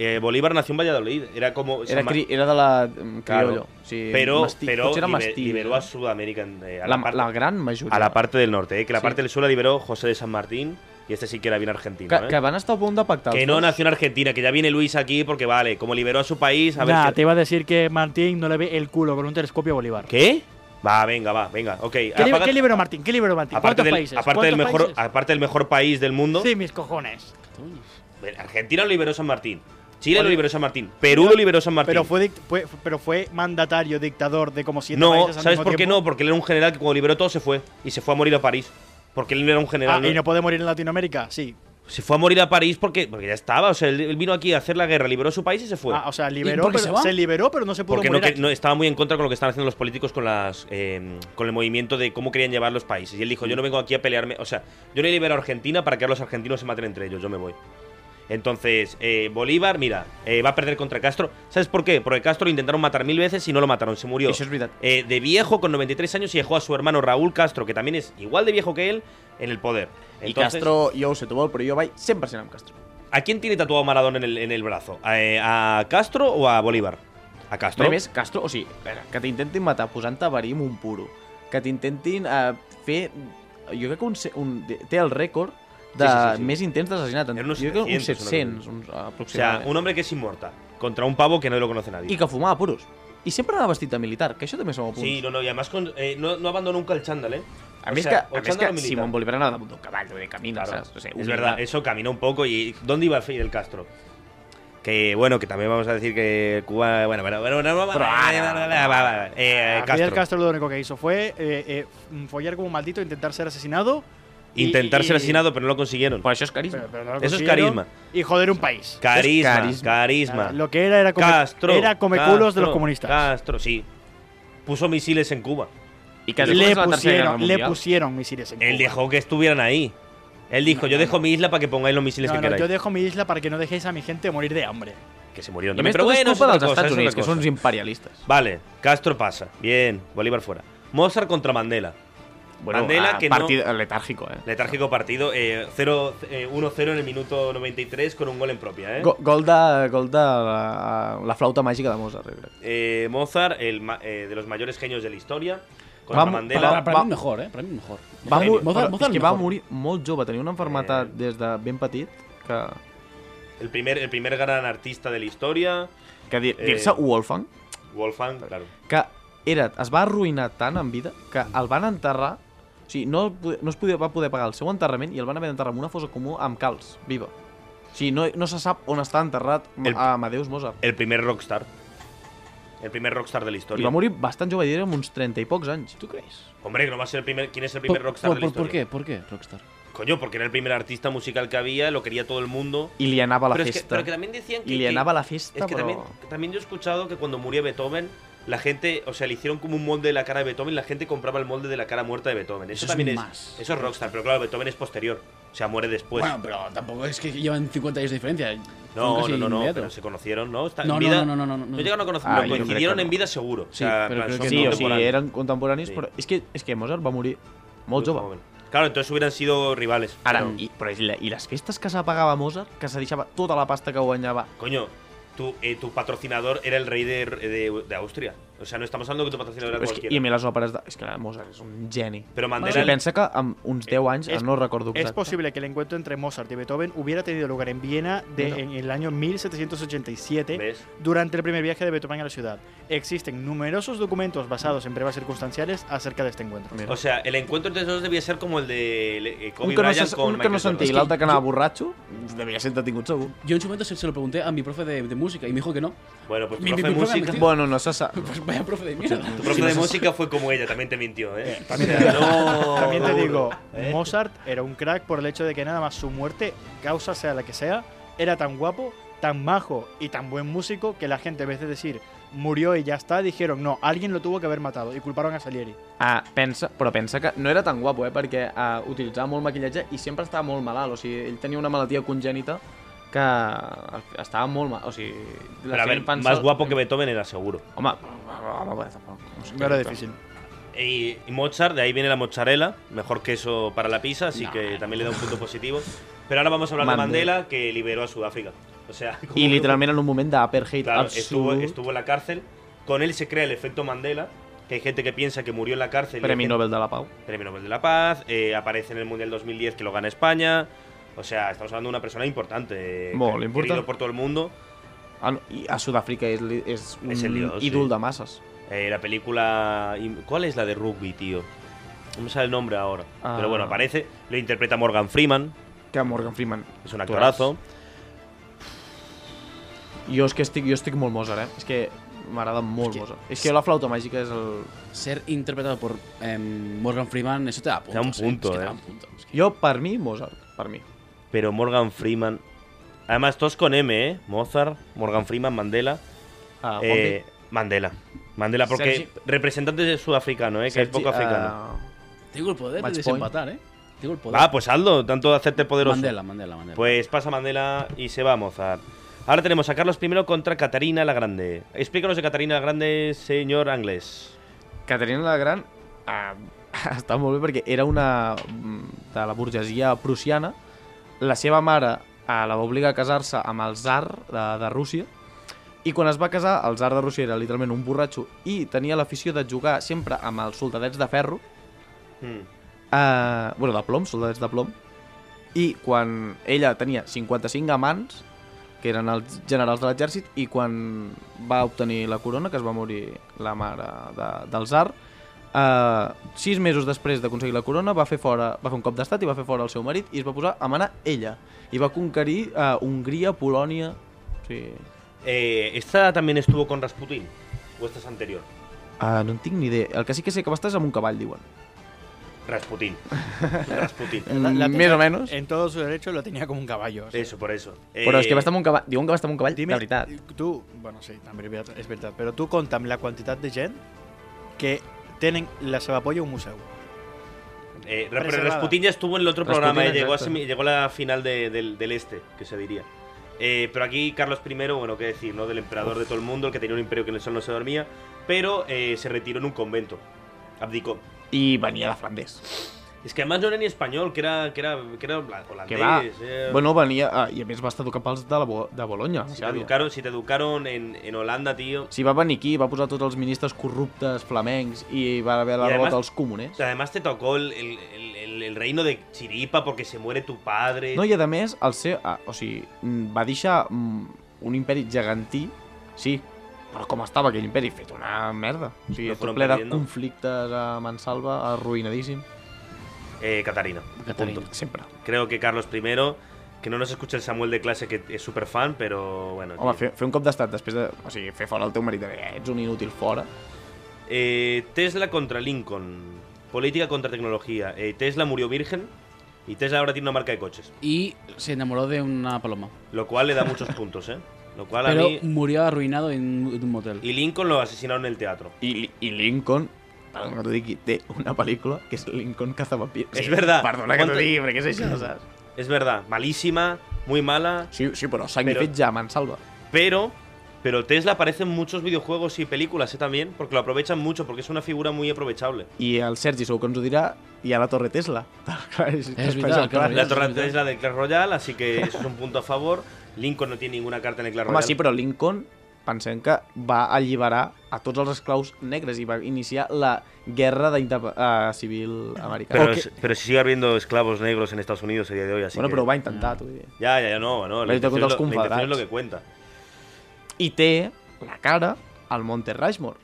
S1: Eh, Bolívar nació en Valladolid, era como...
S2: Era,
S1: San Ma-
S2: cri, era de la... mm, Criollo.
S1: Claro.
S2: Sí,
S1: pero
S2: mastí,
S1: pero
S2: potser pues era
S1: liber-
S2: mastí,
S1: liberó
S2: no?
S1: a Sudamérica en- eh, a,
S2: la,
S1: la parte,
S2: la gran majoria.
S1: a la parte del norte, eh, que la
S2: Sí.
S1: parte del sur la liberó José de San Martín, y este sí que era bien argentino.
S2: Que,
S1: eh.
S2: que van estar a punt de pactar.
S1: Que
S2: els
S1: no
S2: dos.
S1: nació en Argentina, que ya viene Luis aquí porque vale, como liberó a su país, a ver
S4: Nah,
S1: si-
S4: te iba a decir que Martín no le ve el culo con un telescopio a Bolívar.
S1: ¿Qué? Va, venga, va, venga, ok.
S4: ¿Qué, li-
S1: apaga-
S4: qué liberó Martín? ¿Qué liberó Martín?
S1: aparte
S4: ¿Cuántos
S1: del,
S4: países?
S1: aparte del
S4: ¿Cuántos
S1: mejor,
S4: países?
S1: aparte del mejor país del mundo,
S4: Sí, mis cojones.
S1: Argentina lo liberó San Martín, Chile lo
S4: Oye.
S1: liberó San Martín, Perú lo liberó San Martín.
S4: Pero fue, dict- fue- pero fue mandatario, dictador de como siete
S1: No,
S4: países al
S1: ¿sabes
S4: mismo
S1: por qué
S4: tiempo.
S1: no? Porque él era un general que cuando liberó todo se fue. Y se fue a morir a París. Porque él no era un general.
S4: Ah, ¿y no puede morir en Latinoamérica? Sí.
S1: Se fue a morir a París porque, porque ya estaba. O sea, él, él vino aquí a hacer la guerra, liberó su país y se fue.
S4: Ah, o sea, liberó,
S3: por qué
S4: pero-
S3: se va?
S4: se, liberó, pero no se pudo
S1: porque no,
S4: morir.
S1: que-
S4: aquí.
S1: no- estaba muy en contra con lo que están haciendo los políticos con las eh, con el movimiento de cómo querían llevar los países. Y él dijo, yo no vengo aquí a pelearme. O sea, yo le libero a Argentina para que ahora los argentinos se maten entre ellos. Yo me voy. Entonces, eh, Bolívar, mira, eh, va a perder contra Castro. ¿Sabes por qué? Porque Castro lo intentaron matar mil veces y no lo mataron, se murió.
S2: Això és veritat.
S1: Eh, de viejo, con 93 años, y dejó a su hermano Raúl Castro, que también es igual de viejo que él, en el poder.
S2: I
S1: Entonces,
S2: Castro, jo ho sé, tu vol, però jo vaig 100% amb Castro.
S1: ¿A quién tiene tatuado Maradona en el, en el brazo? ¿A, eh, a Castro o a Bolívar? A Castro.
S2: A més, Castro, o sigui, a veure, que t'intentin matar posant-te verí amb un puro, que t'intentin eh, fer... Jo crec que un, se- un, té el rècord de
S1: Sí, sí, sí, sí.
S2: més intents d'assassinat.
S1: Eren uns
S2: Jo crec que uns
S1: 700,
S2: 700, uns,
S1: O sea,
S2: aproximadament.
S1: un hombre que es inmortal contra un pavo que no lo conoce nadie.
S2: I que fumava puros. I sempre anava vestit de militar, que això també som a punt.
S1: Sí, no, no, y además con- eh, no, no abandonó nunca el chándal, ¿eh?
S2: A
S1: O
S2: més
S1: sea,
S2: que,
S1: o
S2: a més
S1: chándal
S2: que
S1: o militar.
S2: Simón Bolívar anava damunt d'un cavall de camina,
S1: Claro,
S2: saps? O sigui,
S1: es
S2: humilitat.
S1: verdad, eso caminó un poco y ¿dónde iba Fidel Castro? Que bueno, que también vamos a decir que Cuba, bueno, pero bueno, no, no, no, eh,
S4: A Fidel
S1: Castro.
S4: Castro lo único que hizo fue eh, eh, follar como un maldito, intentar ser asesinado. y-
S1: Intentar ser
S4: y- Pues,
S1: asesinado, pero no lo consiguieron.
S2: Però això és carisma.
S4: pero- pero no lo
S1: Eso es
S4: consiguieron,
S1: carisma.
S4: Y joder un país.
S1: Carisma,
S2: carisma.
S1: carisma.
S4: Lo que era era come,
S1: Castro.
S4: era come
S1: Castro,
S4: culos de los comunistas.
S1: Castro, sí. Puso misiles en Cuba.
S2: I que
S4: le,
S2: després de la Tercera Guerra
S4: pusieron, le
S2: Mundial-
S4: pusieron misiles en
S1: Él
S4: Cuba.
S1: dejó que estuvieran ahí. Él dijo, yo dejo mi isla para que pongáis los misiles
S4: No,
S1: que
S4: no, yo
S1: queráis.
S4: dejo mi isla para que no dejéis a mi gente morir de hambre.
S1: Que se murieron
S2: I a
S1: también.
S2: més,
S1: Pero
S2: tot
S1: bueno,
S2: és
S1: es
S2: culpa
S1: otra
S2: dels
S1: cosa,
S2: Estats
S1: es otra
S2: Units, que
S1: cosa.
S2: són uns imperialistes.
S1: Vale, Castro pasa. Bien, Bolívar fuera. Mozart contra Mandela. Mandela,
S2: ah,
S1: que no-
S2: partid- Letàrgico, eh?
S1: Letárgico partido, eh, 0, eh, 1-0 en el minuto 93 con un gol en propia. ¿eh?
S2: Go- Gol de, gol de la, la flauta màgica de Mozart, jo crec.
S1: Eh, Mozart, el ma- eh, de los mayores genios de la historia, contra
S2: Vamos,
S1: Mandela.
S3: Para, para,
S2: va-
S3: mí mejor, ¿eh? Para mí mejor.
S2: Va
S1: Genio. morir-
S2: mor...
S3: Mozart-
S2: però
S3: Mozart
S2: és que va
S3: mejor.
S2: morir molt jove, tenia una
S1: Eh.
S2: malaltia des de ben petit que,
S1: El, primer, el primer gran artista de la historia,
S2: que dir-
S1: Eh.
S2: dir-se Wolfgang,
S1: Wolfgang, claro.
S2: que era, es va arruïnar tant en vida que el van enterrar, o sigui, no, po- no es podia, va poder pagar el seu enterrament i el van haver d'enterrar en una fosa comú amb calç, viva. O sigui, no, no se sap on està enterrat
S1: El-
S2: el... Amadeus Mozart.
S1: El primer rockstar. El primer rockstar de la
S2: I
S1: historia.
S2: va morir bastant jove, diria, amb uns 30 i pocs anys.
S3: ¿Tú crees?
S1: Hombre, que no va a ser el primer. ¿Quién es el primer
S3: ¿Por,
S1: rockstar
S3: por-
S1: de la
S3: por- por
S1: historia?
S3: qué? ¿Por qué Rockstar?
S1: Coño, porque era el primer artista musical que había, lo quería todo el mundo.
S2: I li anava a la
S1: pero, es que,
S2: festa.
S1: pero que también decían que.
S2: I li
S1: que-
S2: anava a la festa,
S1: Es que
S2: però...
S1: también, también yo he escuchado que cuando murió Beethoven, la gente, o sea, le hicieron como un molde de la cara de Beethoven, la gente compraba el molde de la cara muerta de Beethoven. Eso,
S3: Eso es
S1: también es,
S3: más.
S1: Eso es Rockstar, pero claro, Beethoven es posterior. O sea, muere después.
S3: bueno, pero tampoco es que llevan 50 años de diferencia. Fueron
S1: Pues no,
S3: casi
S1: no, no, no,
S3: inmediato.
S1: pero se conocieron, ¿no? Está-
S3: No,
S1: en
S3: no,
S1: vida-
S3: no, no, no, no, no.
S1: llegaron a conocer,
S2: Ah,
S1: pero
S2: yo creo que
S1: coincidieron
S2: no.
S1: en vida seguro.
S3: Sí,
S1: o sea,
S3: pero
S1: en plan,
S3: creo que
S1: son
S2: Sí, o sigui,
S1: contemporáneos.
S2: eren contemporanis,
S1: Sí.
S2: però és que, és que Mozart va morir
S1: Muy
S2: molt jove.
S1: joven. Claro, entonces hubieran sido rivales.
S2: Ara,
S1: Pero,
S2: i, però i, la, i les festes que s'apagava Mozart, que se deixava tota la pasta que guanyava.
S1: coño, tu, eh, tu patrocinador era el rey de, de- de Austria. O sea, no estamos hablando que tu patrocinador era
S2: Però és que,
S1: cualquiera.
S2: I a mi les òperes de... És que Mozart és un geni.
S1: Pero
S2: O
S1: Mandela,
S2: sigui, pensa que amb uns 10 anys,
S4: és-
S2: ara no recordo exacte.
S4: Es posible que el encuentro entre Mozart y Beethoven hubiera tenido lugar en Viena de-
S2: Mira.
S4: en el año 1787
S1: ¿ves?
S4: durante el primer viaje de Beethoven a la ciudad. Existen numerosos documentos basados en pruebas circunstanciales acerca de este encuentro.
S2: Mira.
S1: O sea, el encuentro entre esos dos debía ser como el de le- eh,
S2: Un
S1: Kobe
S2: que no,
S1: Bryant
S2: se,
S1: con
S2: un que no
S1: Michael Jordan.
S2: sentia i l'altre que anava borratxo, devia ser entretingut segur.
S3: Yo en su momento se, se lo pregunté a mi profe de, de música y me dijo que no.
S1: Bueno, pues tu
S3: Mi-
S1: profe
S3: mi
S1: de
S3: profe me
S1: música,
S3: mintió.
S2: Bueno, no se sap.
S3: Pues vaya profe de mierda.
S1: tu profe de música fue como ella, también te mintió, ¿eh? no,
S4: También te
S1: duro,
S4: digo,
S1: Oh. ¿eh?
S4: Mozart era un crack por el hecho de que nada más su muerte, causa sea la que sea, era tan guapo, tan majo y tan buen músico que la gente, en vez de decir murió y ya está, dijeron no, alguien lo tuvo que haber matado y culparon a Salieri.
S2: Ah, pensa, però pensa que no era tan guapo, eh? Perquè ah, utilitzava molt maquillatge i sempre estava molt malalt. O sigui, ell tenia una malaltia congènita que ah, estava molt mal. O sigui, la
S1: Pero a
S2: gent
S1: ver,
S2: pensa-
S1: más guapo que Beethoven era seguro.
S2: Home, home, home, tampoc. O sigui,
S4: No era difícil.
S1: Y y Mozart, de ahí viene la mozzarella, mejor queso para la pizza, así
S3: No.
S1: que también le da un punto positivo. Pero ahora vamos a hablar de
S2: Mandela.
S1: Mandela, que liberó a Sudáfrica. O sea, como-
S2: I literalment en un moment d'apartheid
S1: Claro, estuvo,
S2: absolut.
S1: estuvo en la cárcel. Con él se crea el efecto Mandela, que hay gente que piensa que murió en la cárcel. y hay
S2: Premi
S1: gente-
S2: Nobel de la Pau.
S1: Premio Nobel de la Paz, eh, aparece en el Mundial 2010 que lo gana España. O sea, estamos hablando de una persona importante. eh,
S2: Molt
S1: querido
S2: important.
S1: por todo el mundo.
S2: Ah, no, I a Sud-àfrica és, li- és un
S1: És el dios, sí.
S2: ídol de masses.
S1: Eh, la película. y- ¿Cuál es la de rugby, tío? No me sale el nombre ahora.
S2: Ah.
S1: Pero bueno, aparece. Lo interpreta Morgan Freeman,
S2: Que Morgan Freeman...
S1: es un actorazo.
S2: Jo és que estic, jo estic molt Mozart, eh? És que m'agrada molt
S3: que-
S2: Mozart. És que la flauta màgica és el...
S3: Ser interpretado por em, Morgan Freeman, eso te da puntos.
S1: un
S3: eh.
S1: punto,
S3: Es que te
S1: eh.
S3: da un punto. Es que-
S2: Jo, per mi, Mozart. Per mi.
S1: Pero Morgan Freeman. Además, todos con M, ¿eh? Mozart, Morgan Freeman, Mandela.
S2: Uh,
S1: eh, Mandela. Mandela, porque
S2: Sergi- ah.
S1: representantes de sudafricano, ¿eh? Que es poco africano.
S3: Tengo el poder
S2: Match
S3: de desempatar, ¿eh? Tengo el poder.
S1: Ah, pues Aldo, tanto de hacerte poderoso.
S3: Mandela, Mandela, Mandela.
S1: Pues pasa Mandela y se va a Mozart. Ahora tenemos a Carlos I contra Catarina la Grande. Explícanos de Catarina la Grande, señor Anglés.
S2: Caterina la Gran ah, està molt bé perquè era una mm, de la burgesia prussiana. La seva mare ah, la va obligar a casar-se amb el zar de, de Rússia i quan es va casar, el zar de Rússia era literalment un borratxo i tenia l'afició de jugar sempre amb els soldadets de ferro Hmm. eh, bueno, de plom, soldadets de plom, i quan ella tenia 55 amants, que eren els generals de l'exèrcit, i quan va obtenir la corona, que es va morir la mare de, del zar, eh, sis mesos després d'aconseguir la corona va fer, fora, va fer un cop d'estat i va fer fora el seu marit i es va posar a manar ella. I va conquerir eh, Hongria, Polònia... Sí.
S1: Eh, ¿Esta también estuvo con Rasputin? ¿O esta es anterior?
S2: Ah, no en tinc ni idea. El que sí que sé que va estar és amb un cavall, diuen.
S1: Rasputin. Rasputin.
S4: La- la-
S2: Més o menys.
S4: En todo su derecho lo tenía como un caballo. o sea.
S1: Eso, por eso.
S2: Però és que
S1: Eh,
S2: va estar amb un cavall... Diuen que va estar amb un cavall,
S4: Dime,
S2: de veritat.
S4: Tú, bueno, sí, también es verdad- es verdad, pero tú contame la cantidad de gente que tienen la Sebapolla un museo.
S1: eh, pero
S4: Preservada.
S1: Rasputin ya estuvo en el otro
S2: Rasputin,
S1: programa, eh, llegó, a
S2: exacto.
S1: semi- llegó a la final de- del, del este, que se diría. Eh, pero aquí Carlos I, bueno, qué decir, ¿no? Del emperador de todo el mundo, el que tenía un imperio que en el sol no se dormía, pero eh, se retiró en un convento. Abdicó.
S2: I venia de Flanders.
S1: Es que además no era ni español, que era, que era, que era holandés.
S2: Que va.
S1: eh.
S2: Bueno, venia... Ah, I a més va estar educat pels de, la Bo de Bologna.
S1: si, te
S2: Xàbia.
S1: educaron, si te educaron en, en Holanda, tío.
S2: Sí, va venir aquí, va posar tots els ministres corruptes flamencs i va haver la
S1: I,
S2: revolta
S1: además,
S2: dels comunes.
S1: Además te tocó el, el- el- el- el reino de Chiripa porque se muere tu padre.
S2: No, i a més, el seu, ah, o sigui, mm, va deixar mm, un imperi gegantí, sí, però com estava aquell imperi? Fet una merda. O sigui,
S1: Lo
S2: tot
S1: fueron
S2: ple de
S1: perdiendo.
S2: conflictes a Mansalva, arruïnadíssim.
S1: Eh, Catarina.
S3: Catarina.
S1: punto.
S2: Sempre.
S1: Creo que Carlos I, que no nos escucha el Samuel de clase, que es súper fan, pero bueno.
S2: Home,
S1: tío.
S2: fer, fer un cop d'estat després de... O sigui, fer fora el teu marit, de, eh, ets un inútil fora.
S1: Eh, Tesla contra Lincoln. Política contra tecnología. Eh, Tesla murió virgen y Tesla ahora tiene una marca de coches.
S3: Y se enamoró de una paloma.
S1: Lo cual le da muchos puntos, ¿eh? Lo cual a
S3: Pero
S1: mí.
S3: murió arruinado en un en un motel.
S1: Y Lincoln lo asesinaron en el teatro.
S2: I, Li- i Lincoln, perdona que t'ho digui, té una pel·lícula que és Lincoln Cazavampires.
S1: És verdad.
S2: Perdona que t'ho
S1: Quanta-
S2: digui, perquè és això, saps?
S1: Es verdad, malísima, muy mala,
S2: Sí, sí, però sacrifetja a Mansalva.
S1: pero. Pero Tesla aparece en muchos videojuegos y películas, ¿eh? También, porque lo aprovechan mucho, porque es una figura muy aprovechable.
S2: I el Sergi segur que ens ho dirà, hi ha la Torre Tesla. és
S3: veritat, clar.
S1: La
S3: Eso es
S1: torre
S3: verdad.
S1: es la del Clash Royale, así que eso es un punto a favor. Lincoln no tiene ninguna carta en el Clash
S2: Home,
S1: Royale.
S2: sí, però Lincoln, pensem que va alliberar a tots els esclaus negres i va iniciar la guerra d'indep- eh, civil americana.
S1: Pero, si- pero si sigue habiendo esclavos negros en Estados Unidos a día de hoy, así
S2: bueno,
S1: que-
S2: però ho va intentar, t'ho diré.
S1: Ya, ya, ya, no, no.
S2: Pero
S1: La
S2: yo te
S1: intención,
S2: cuento
S1: es
S2: los
S1: lo, la intención es lo
S2: compadres.
S1: que cuenta.
S2: I té la cara al Monte Rushmore.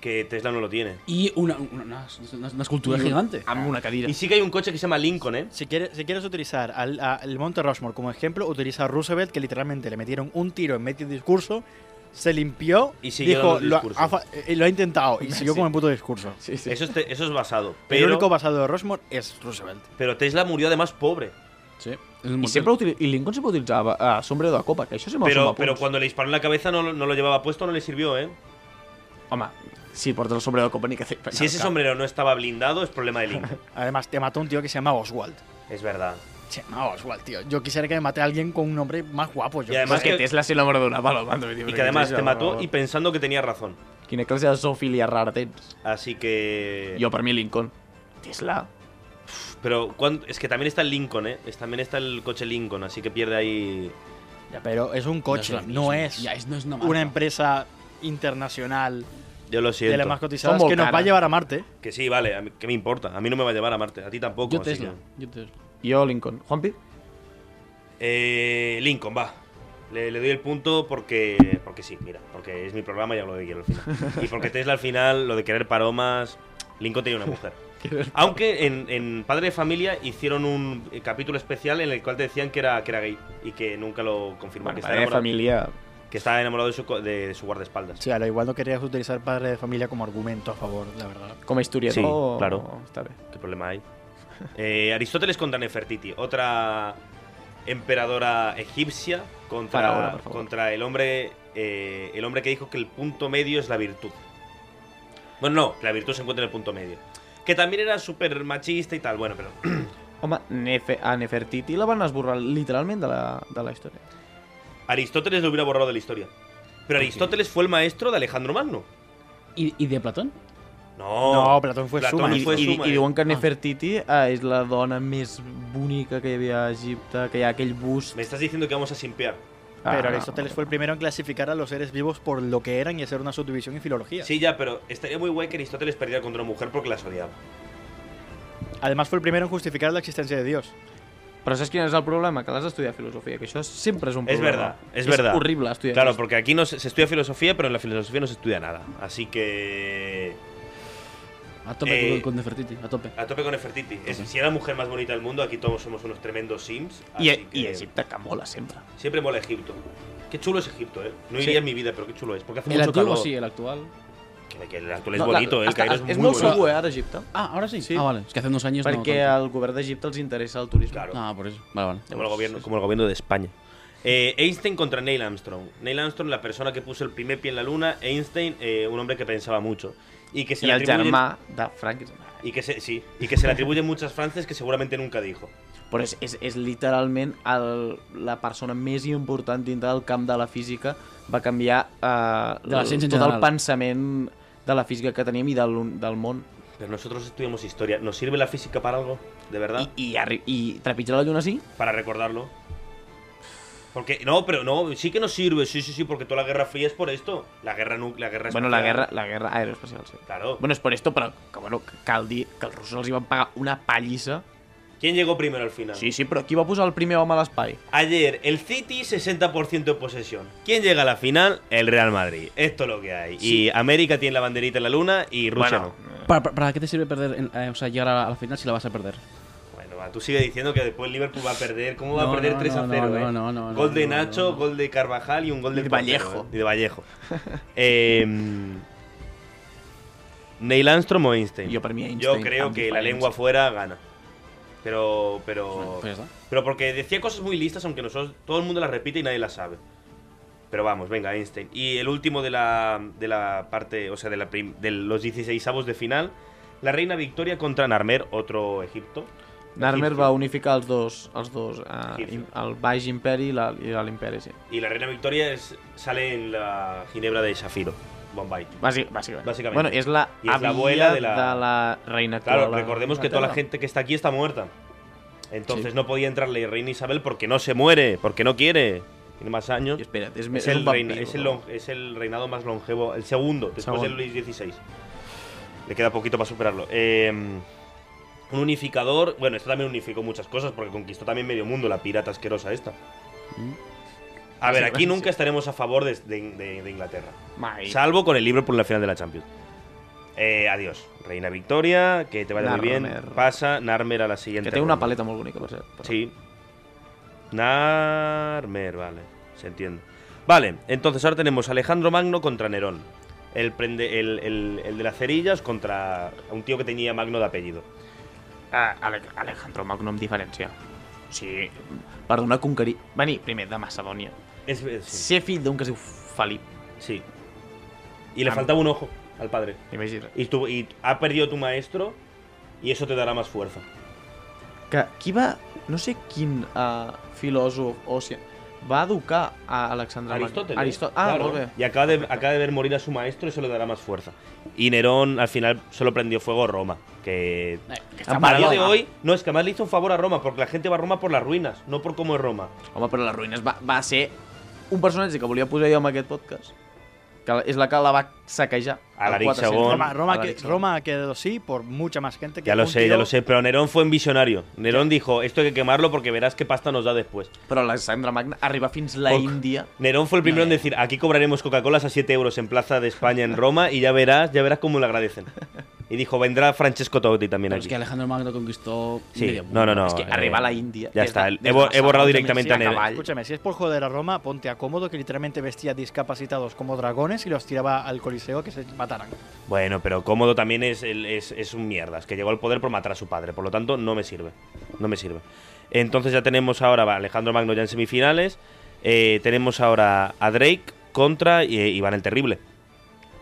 S1: Que Tesla no lo tiene.
S3: Y una, una, una- una- una escultura
S2: I un-
S3: gigante.
S2: Amb una cadira.
S1: Y sí que hay un coche que se llama Lincoln, ¿eh?
S4: Si quieres, si quieres utilizar al, a- el Monte Rushmore como ejemplo, utiliza a Roosevelt, que literalmente le metieron un tiro en medio del discurso, se limpió,
S1: Y siguió
S4: dijo,
S1: dando el
S4: lo ha,
S1: discurso".
S4: ha fa- eh, lo ha intentado y siguió
S2: Sí.
S4: con el puto discurso.
S2: Sí, sí.
S1: Eso, es te- eso es basado.
S4: El
S1: Pero,
S4: único basado de Rushmore es Roosevelt.
S1: pero Tesla murió además pobre.
S3: Sí, en un
S2: I,
S3: motel.
S2: sempre utili- I Lincoln sempre utilitzava uh, sombrero de copa, que això sempre
S1: Pero,
S2: suma
S1: pero
S2: punts.
S1: cuando le disparó en la cabeza no, lo- no lo llevaba puesto, no le sirvió, ¿eh?
S2: Home, si portes el sombrero de copa ni que fer...
S1: Si ese sombrero no estaba blindado, es problema de Lincoln.
S4: Además, te mató un tío que se llama Oswald.
S1: es verdad.
S4: Se llama Oswald, tío. Yo quisiera que me mate a alguien con un nombre más guapo. Yo
S1: Y
S4: qué
S1: además
S4: sé.
S1: que-
S2: Que Tesla se enamora d'una paloma.
S1: Y que además te mató y pensando que tenía razón.
S2: Quina classe de zoofilia rara tens.
S1: Así que.
S2: Jo, per mi, Lincoln. Tesla.
S1: Pero ¿cuán- es que también está el Lincoln, ¿eh? Es- también está el coche Lincoln, así que pierde ahí.
S4: Ya, pero es un coche,
S3: la
S4: no
S3: misma.
S4: es,
S3: Ya, es- no es una marca.
S4: una empresa internacional
S1: Yo lo
S4: de las
S1: siento.
S4: más cotizadas
S2: Son
S4: que nos va a
S2: volcanas.
S4: llevar a Marte.
S1: Que sí, vale, a mí- ¿qué me importa? A mí no me va a llevar a Marte, a ti tampoco.
S3: Yo
S1: así
S3: Tesla.
S1: que-
S3: Yo Tesla.
S2: Jo, Lincoln. Juanpi?
S1: Eh, Lincoln, va. Le, le doy el punto porque porque sí, mira, porque es mi programa y hablo de quiero al final. Y porque Tesla al final, lo de querer palomas, Lincoln tenía una mujer. Aunque en, en Padre de Familia hicieron un eh, capítulo especial en el cual te decían que era, que era gay y que nunca lo confirmó,
S2: Bueno,
S1: que,
S2: padre de
S1: enamorado,
S2: família...
S1: que estaba enamorado de su, co- de su guardaespaldas.
S4: Sí, a lo igual no querías utilizar padre de familia como argumento a favor, la verdad.
S2: Com a historiador... oh,
S1: Sí, claro.
S2: Està bé.
S1: ¿Qué problema hay? Eh, Aristóteles contra Nefertiti, otra emperadora egipcia contra,
S2: Para ahora, por favor.
S1: contra el hombre eh, el hombre que dijo que el punto medio es la virtud. Bueno, no, la virtud se encuentra en el punto medio. Que también era súper machista y tal, bueno, pero...
S2: Home, Nefe, a Nefertiti la van esborrar literalment de la, de la història.
S1: Aristóteles lo hubiera borrado de la historia. Pero Aristóteles fue el maestro de Alejandro Magno.
S3: ¿Y, y de Platón?
S1: No,
S4: No, Platón fue suma.
S2: I,
S1: fue
S2: i,
S1: suma,
S2: I
S1: eh.
S2: diuen que Nefertiti eh, és la dona més bonica que hi havia a Egipte, que hi ha aquell bust...
S1: Me estás diciendo que vamos a simpear.
S4: Pero
S2: Ah,
S4: Aristóteles fue el primero en clasificar a los seres vivos por lo que eran y hacer una subdivisión en filología.
S1: Sí, ya, pero estaría muy guay que Aristóteles perdiera contra una mujer porque las odiaba.
S4: Además fue el primero en justificar la existencia de Dios.
S2: Però saps quin és el problema? Que l'has d'estudiar filosofia, que això sempre és un
S1: Es
S2: problema.
S1: verdad, es verdad.
S2: És horrible estudiar
S1: Claro,
S2: filosofia.
S1: porque aquí no se, se estudia filosofía, pero en la filosofía no se estudia nada. Así que.
S3: A tope
S1: Eh,
S3: con, con Nefertiti, a tope.
S1: A tope con Nefertiti. Es- si era la mujer más bonita del mundo, aquí todos somos unos tremendos sims.
S2: I,
S1: así que
S2: I Egipte, que mola sempre.
S1: Siempre mola Egipto. Qué chulo es Egipto, ¿eh? No
S2: Sí.
S1: iría en mi vida, pero qué chulo es. Porque hace
S3: El
S1: mucho
S3: antiguo
S1: calor.
S3: sí, el actual.
S1: Que, que el actual es
S2: No, la-
S1: bonito, ¿eh? el
S2: hasta-
S1: Cairo es,
S2: És
S1: muy
S2: molt
S1: bonito.
S2: segur, eh, ara, Egipte.
S3: Ah, ahora sí.
S2: Sí.
S3: Ah, vale. Es que hace unos años no.
S2: Perquè
S3: tanto.
S2: al govern d'Egipte els interessa el turisme.
S1: Claro.
S3: Ah, por eso. Vale, vale.
S1: Como el gobierno, como el gobierno de España. Eh, Einstein contra Neil Armstrong. Neil Armstrong, la persona que puso el primer pie en la luna. Einstein, eh, un hombre que pensaba mucho. Y que se
S2: I
S1: le
S2: el
S1: atribuyen-
S2: germà de Frankenstein.
S1: Y que se, sí, y que se le atribuyen muchas frases que seguramente nunca dijo.
S2: Però és, és, és literalment el, la persona més important dintre del camp de la física. Va canviar eh,
S3: De la ciència en
S2: tot
S3: general.
S2: el pensament de la física que teníem i del, del món.
S1: Pero nosotros estudiamos historia. ¿Nos sirve la física para algo? ¿De verdad?
S2: I, i, arri- i trepitjar la lluna sí?
S1: para recordarlo. Porque, no, pero no, sí que nos sirve, sí, sí, sí, porque toda la Guerra Fría es por esto. La guerra nu- la guerra
S2: Bueno, la
S1: espacial.
S2: guerra, la guerra aeroespacial, sí.
S1: Claro.
S2: Bueno, és per esto, però que, bueno, que cal dir que els russos els hi van pagar una pallissa.
S1: ¿Quién llegó primero al final?
S2: Sí, sí, però qui va posar el primer home a l'espai?
S1: Ayer, el City 60% de posesión. ¿Quién llega a la final? El Real Madrid. Esto es lo que hay. Y América tiene la banderita en la luna y Rusia
S3: ¿Para, para, para qué te sirve perder, en- eh, o sea, llegar a la, a la final si la vas a perder?
S1: no. Bueno, va, tú sigue diciendo que después el Liverpool va a perder. ¿Cómo va
S3: No,
S1: a perder
S3: no,
S1: 3 a
S3: no,
S1: 0?
S3: no,
S1: eh?
S3: no, no, no,
S1: gol de
S3: no,
S1: Nacho,
S3: no, no.
S1: gol de Carvajal y un gol
S2: Y
S1: del
S2: de
S1: portero,
S2: Vallejo.
S1: eh. Y de Vallejo. Eh, Neil Armstrong o Einstein.
S2: Jo per mi Einstein.
S1: Yo creo
S2: amb
S1: que la
S2: diferència.
S1: lengua fuera gana. Pero, pero,
S3: Pues ya está.
S1: pero porque decía cosas muy listas, aunque nosotros todo el mundo las repite y nadie las sabe. Pero vamos, venga, Einstein. Y el último de la, de la parte, o sea, de, la prim- de los 16 avos de final, la reina Victoria contra Narmer, otro Egipto.
S2: Narmer
S1: Egipto.
S2: va unificar els dos, els dos eh,
S1: Egipcio.
S2: im- el Baix Imperi i la- i la- l'Imperi, sí.
S1: Y la reina Victoria es- sale en la ginebra de Shafiro, Bombay.
S2: Bàsic, bàsicament.
S1: Bàsicament.
S2: Bueno, és la
S1: I és
S2: àvia
S1: l'abuela de
S2: de,
S1: la-
S2: la... de la reina actual.
S1: Claro,
S2: de
S1: recordemos que toda
S2: Inglaterra.
S1: la gente que está aquí está muerta. Entonces no podía entrar la reina Isabel porque no se muere, porque no quiere. Tiene más años.
S2: I espera't, és,
S1: Es
S2: més,
S1: el,
S2: un
S1: reina-
S2: vampiro,
S1: es el
S2: no?
S1: lon- es el reinado más longevo, el segundo, después
S2: Segundo.
S1: de Luis XVI. Le queda poquito para superarlo. Eh, un unificador, bueno, esto también unificó muchas cosas porque conquistó también medio mundo, la pirata asquerosa esta.
S3: Mm.
S1: A ver,
S2: Sí,
S1: aquí
S2: bueno,
S1: nunca
S2: sí.
S1: estaremos a favor de, de- de- de Inglaterra.
S2: Mai.
S1: Salvo con el Liverpool en la final de la Champions. Eh, adiós. Reina Victoria, que te vaya muy bien.
S2: Narmer.
S1: Pasa Narmer a la siguiente.
S2: Que té una
S1: ronda.
S2: paleta molt bonica, per cert. Però...
S1: Sí. Narmer, vale. Se entiende. Vale, entonces ahora tenemos a Alejandro Magno contra Nerón. El, prende, el, el- el de las cerillas contra un tío que tenía Magno de apellido.
S2: Ah, Ale- Alejandro Magno amb diferència. O sigui, perdona, conquerir... Venir primer de Macedònia.
S1: Es, es- sí.
S2: Ser fill d'un que es diu Felip,
S1: sí. Y
S2: Ah,
S1: le faltaba un ojo al padre.
S2: imagina't.
S1: Y, tu- y ha perdido tu maestro y eso te dará más fuerza.
S2: Que qui va... No sé quin uh, filòsof o si... Va educar a Alexandre Magno.
S1: Aristóteles.
S2: Aristó- Ah,
S1: Claro.
S2: molt bé.
S1: Y acaba de, acaba de ver morir a su maestro y eso le dará más fuerza. Y Nerón al final solo prendió fuego Roma, que
S3: Eh, que
S2: está
S1: A
S2: mal.
S1: partir de
S2: Roma.
S1: hoy, no, es que además le hizo un favor a Roma, porque la gente va a Roma por las ruinas, no por cómo es Roma.
S2: Home, però les ruïnes va, va ser un personatge que volia posar jo en aquest podcast. Que és la que la va saquejar.
S1: Alaric
S2: El 400.
S1: Segón.
S4: Roma, Roma, que,
S2: Alaric Segón.
S4: Roma ha quedado sí por mucha más gente que
S1: Ya lo
S4: un
S1: sé, ya
S4: tío-
S1: lo sé, pero Nerón fue un visionario. Nerón dijo, esto hay que quemarlo porque verás qué pasta nos da después.
S2: Però Alexandre Magna arriba fins la
S1: Poc.
S2: Índia.
S1: Nerón fue el primero en decir, aquí cobraremos Coca-Colas a 7 euros en Plaza de España en Roma y ya verás, ya verás cómo le agradecen. Y dijo, vendrá Francesco Totti también
S3: Pero es
S1: aquí.
S3: que Alejandro Magno conquistó.
S1: Sí,
S3: medio
S1: no, no,
S3: mundo.
S1: no.
S2: és que
S1: eh,
S2: arriba a la Índia.
S1: ya
S2: des
S1: está,
S2: de-
S1: he
S2: des de
S1: bo- he
S2: Barcelona,
S1: borrado
S2: també,
S1: directamente
S2: sí,
S1: a Nere.
S2: cavall.
S4: Escúchame, si es por joder a Roma, ponte a cómodo que literalmente vestía a discapacitados como dragones y los tiraba al coliseo que se mataran.
S1: Bueno, pero cómodo también es, el- es, es un mierdas, que llegó al poder por matar a su padre, por lo tanto no me sirve, no me sirve. Entonces ya tenemos ahora va, Alejandro Magno ya en semifinales, eh, tenemos ahora a Drake contra eh, Iván el Terrible.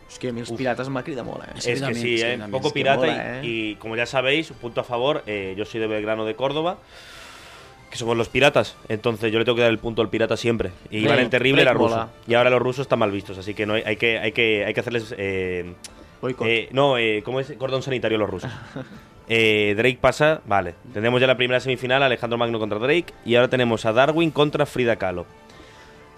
S2: És que a mi els pirates m'ha cridat molt, eh?
S3: Sí,
S1: es que
S3: también,
S1: sí,
S3: sí,
S1: eh,
S3: también,
S1: un poco
S2: es que
S1: pirata
S2: mola,
S1: y, y
S2: eh.
S1: como ya sabéis, un punto a favor, eh, yo soy de Belgrano de Córdoba, que somos los piratas, entonces yo le tengo que dar el punto al pirata siempre. Y Iván
S2: Drake-
S1: el Terrible era
S2: Drake
S1: ruso,
S2: mola.
S1: y ahora los rusos están mal vistos, así que, no hay, hay que, hay que, hay que hacerles... eh,
S2: Boicot.
S1: Eh, no, eh, ¿cómo es? Cordón sanitario los rusos. Eh, Drake pasa, vale. Tenemos ya la primera semifinal, Alejandro Magno contra Drake. Y ahora tenemos a Darwin contra Frida Kahlo.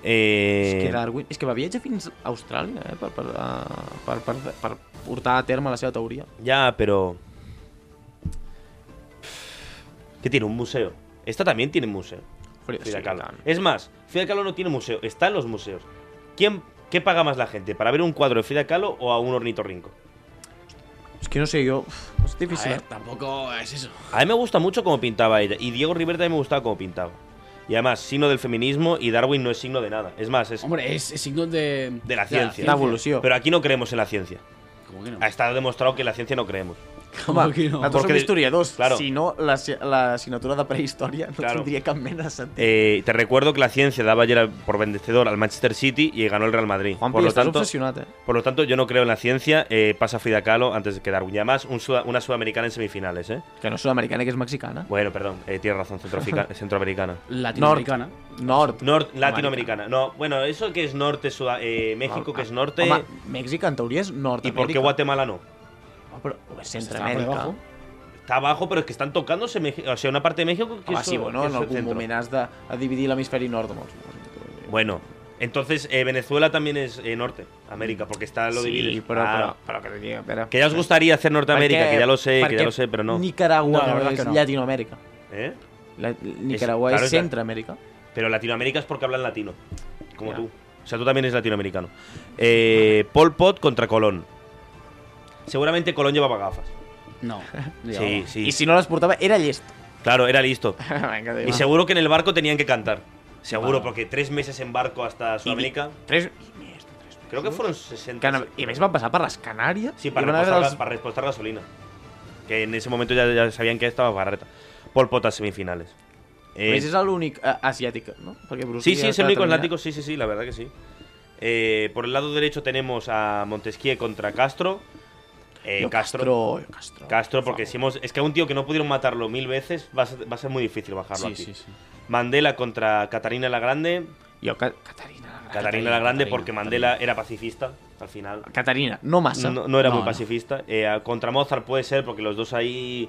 S1: Eh,
S2: És que Darwin... És que va viatjar fins a Austràlia, eh? Per, per, eh, per, per, per portar a terme la seva teoria.
S1: Ya, pero. ¿Qué tiene? ¿Un museo? Esta también tiene museo.
S2: Frida-
S1: Frida
S2: sí,
S1: Kahlo.
S2: claro.
S1: Es más, Frida Kahlo no tiene museo, está en los museos. ¿Quién, ¿Qué paga más la gente? ¿Para ver un cuadro de Frida Kahlo o a un ornitorrinco?
S2: Es que no sé yo. uf, Es
S3: A
S2: difícil.
S3: ver,
S2: ¿eh?
S3: tampoco es eso.
S1: A mí me gusta mucho cómo pintaba ella. Y Diego Rivera también me gustaba cómo pintaba. Y además, signo del feminismo y Darwin no es signo de nada. Es más, es.
S3: Hombre, es, es signo de. eh,
S1: De la ciencia. Ah,
S2: La evolución.
S1: Pero aquí no creemos en la ciencia.
S3: ¿Cómo que no?
S1: Ha estado demostrado que en la ciencia no creemos.
S3: ¿Cómo que no?
S2: Nosaltres som
S1: Porque-
S2: historiadors.
S1: claro.
S2: Si no, la, ci- la assignatura de prehistòria no
S1: Claro.
S2: tindria cap mena de sentit.
S1: Eh, te recuerdo que la ciencia daba ayer por vencedor al Manchester City y ganó el Real Madrid. por, lo
S2: estàs
S1: tanto,
S2: obsessionat, eh?
S1: por lo tanto, yo no creo en la ciencia. eh, pasa Frida Kahlo antes que Darwin. Y además, un suda- una sudamericana en semifinales. ¿eh?
S2: Que no és sud-americana, que és mexicana.
S1: Bueno, perdón, eh, tienes razón, centroafrica- centroamericana.
S3: Latinoamericana.
S2: Nord.
S1: Nor- latinoamericana. No, bueno, eso que es norte, Suda- eh, México que es norte.
S2: Home, Mèxic en teoria és
S1: ¿Y
S2: nord-amèrica.
S1: por qué Guatemala no?
S2: Oh, però oh, és
S3: Està por
S2: Centroamèrica.
S3: debajo.
S1: Está abajo, pero es que están tocándose México, o sea, una parte de México que
S2: Home,
S1: es
S2: sí, bueno,
S1: que
S2: en
S1: es el
S2: algun
S1: centro.
S2: moment has de a dividir l'hemisferi nord amb els... eh.
S1: Bueno, entonces eh, Venezuela también es eh, norte, América, porque está lo dividido. Ah.
S2: Sí, però, però, però, que, diria, espera.
S1: Que ya os gustaría hacer Norteamérica,
S2: Perquè-
S1: que ya lo sé, que
S2: perquè
S1: ya lo sé, pero no.
S4: No,
S2: Nicaragua
S4: la
S2: no,
S4: verdad
S2: és
S4: que no.
S2: Llatinoamèrica.
S1: ¿Eh?
S2: La, Nicaragua
S1: claro, és
S2: és,
S1: la-
S2: Centroamèrica.
S1: Pero Latinoamérica es porque hablan latino, como
S2: Ya.
S1: tú. O sea, tú también eres latinoamericano. Eh, Pol Pot contra Colón. Seguramente Colón llevaba gafas.
S3: No.
S1: Sí, sí.
S2: I si no les portava, era llest.
S1: Claro, era listo.
S2: Venga,
S1: Y seguro que en el barco tenían que cantar. Seguro, porque tres meses en barco hasta Sudamérica.
S2: Tres...
S1: Creo que fueron 60.
S2: Que, a més, van passar per les Canàries.
S1: Sí,
S2: i
S1: para
S2: van haver
S1: repostar,
S2: dels-
S1: ga- para repostar gasolina. Que en ese momento ya, ya sabían que estaba barreta. Pol Pot a semifinales.
S2: A
S1: Eh,
S2: més, és l'únic eh, asiàtic, no? Perquè Bruce
S1: sí,
S2: Lee
S1: sí,
S2: ha
S1: es el único
S2: determinat.
S1: atlántico, sí, sí, sí, la verdad que sí. Eh, por el lado derecho tenemos a Montesquieu contra Castro. Eh,
S2: Yo
S1: Castro.
S2: Castro, yo Castro.
S1: Castro, porque
S2: Vamos.
S1: si hemos, es que a un tío que no pudieron matarlo mil veces va a ser, va a ser muy difícil bajarlo
S3: Sí,
S1: aquí.
S3: sí, sí.
S1: Mandela contra Catarina la Grande.
S2: Yo, Ca- Catarina.
S1: Catarina, la Grande
S3: Catarina,
S1: porque Mandela era pacifista al final.
S2: Catarina, no massa.
S1: No, no era
S3: No,
S1: muy
S3: no.
S1: pacifista. Eh, a- contra Mozart puede ser, porque los dos ahí.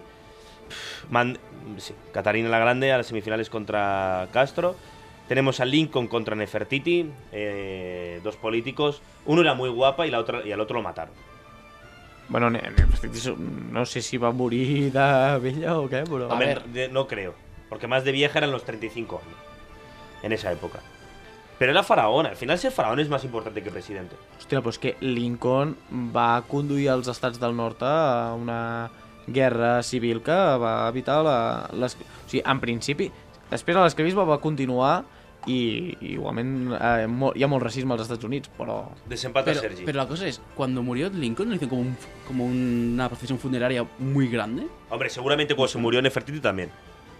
S1: Pff, Man- sí, Catarina la Grande a las semifinales contra Castro. Tenemos a Lincoln contra Nefertiti, eh, dos políticos. Uno era muy guapa y, la otra, y al otro lo mataron.
S2: Bueno, ne- ne- no sé si va morir de vella o qué, pero...
S1: Hombre,
S3: ver.
S1: de- no creo, porque más de vieja eran los 35 años en esa época. Pero era faraón, al final ser faraón es más importante que presidente.
S2: Hòstia, però és que Lincoln va conduir els estats del nord a una guerra civil que va evitar la... Les... O sigui, en principi, després de l'esclavisme va continuar i, i igualment eh, mo- hi ha molt racisme als Estats Units, però...
S1: Desempata
S3: Pero,
S1: Sergi.
S3: pero la cosa es, cuando murió Lincoln, ¿no hizo como, un- como una procesión funeraria muy grande?
S1: Hombre, seguramente cuando se murió Nefertiti también.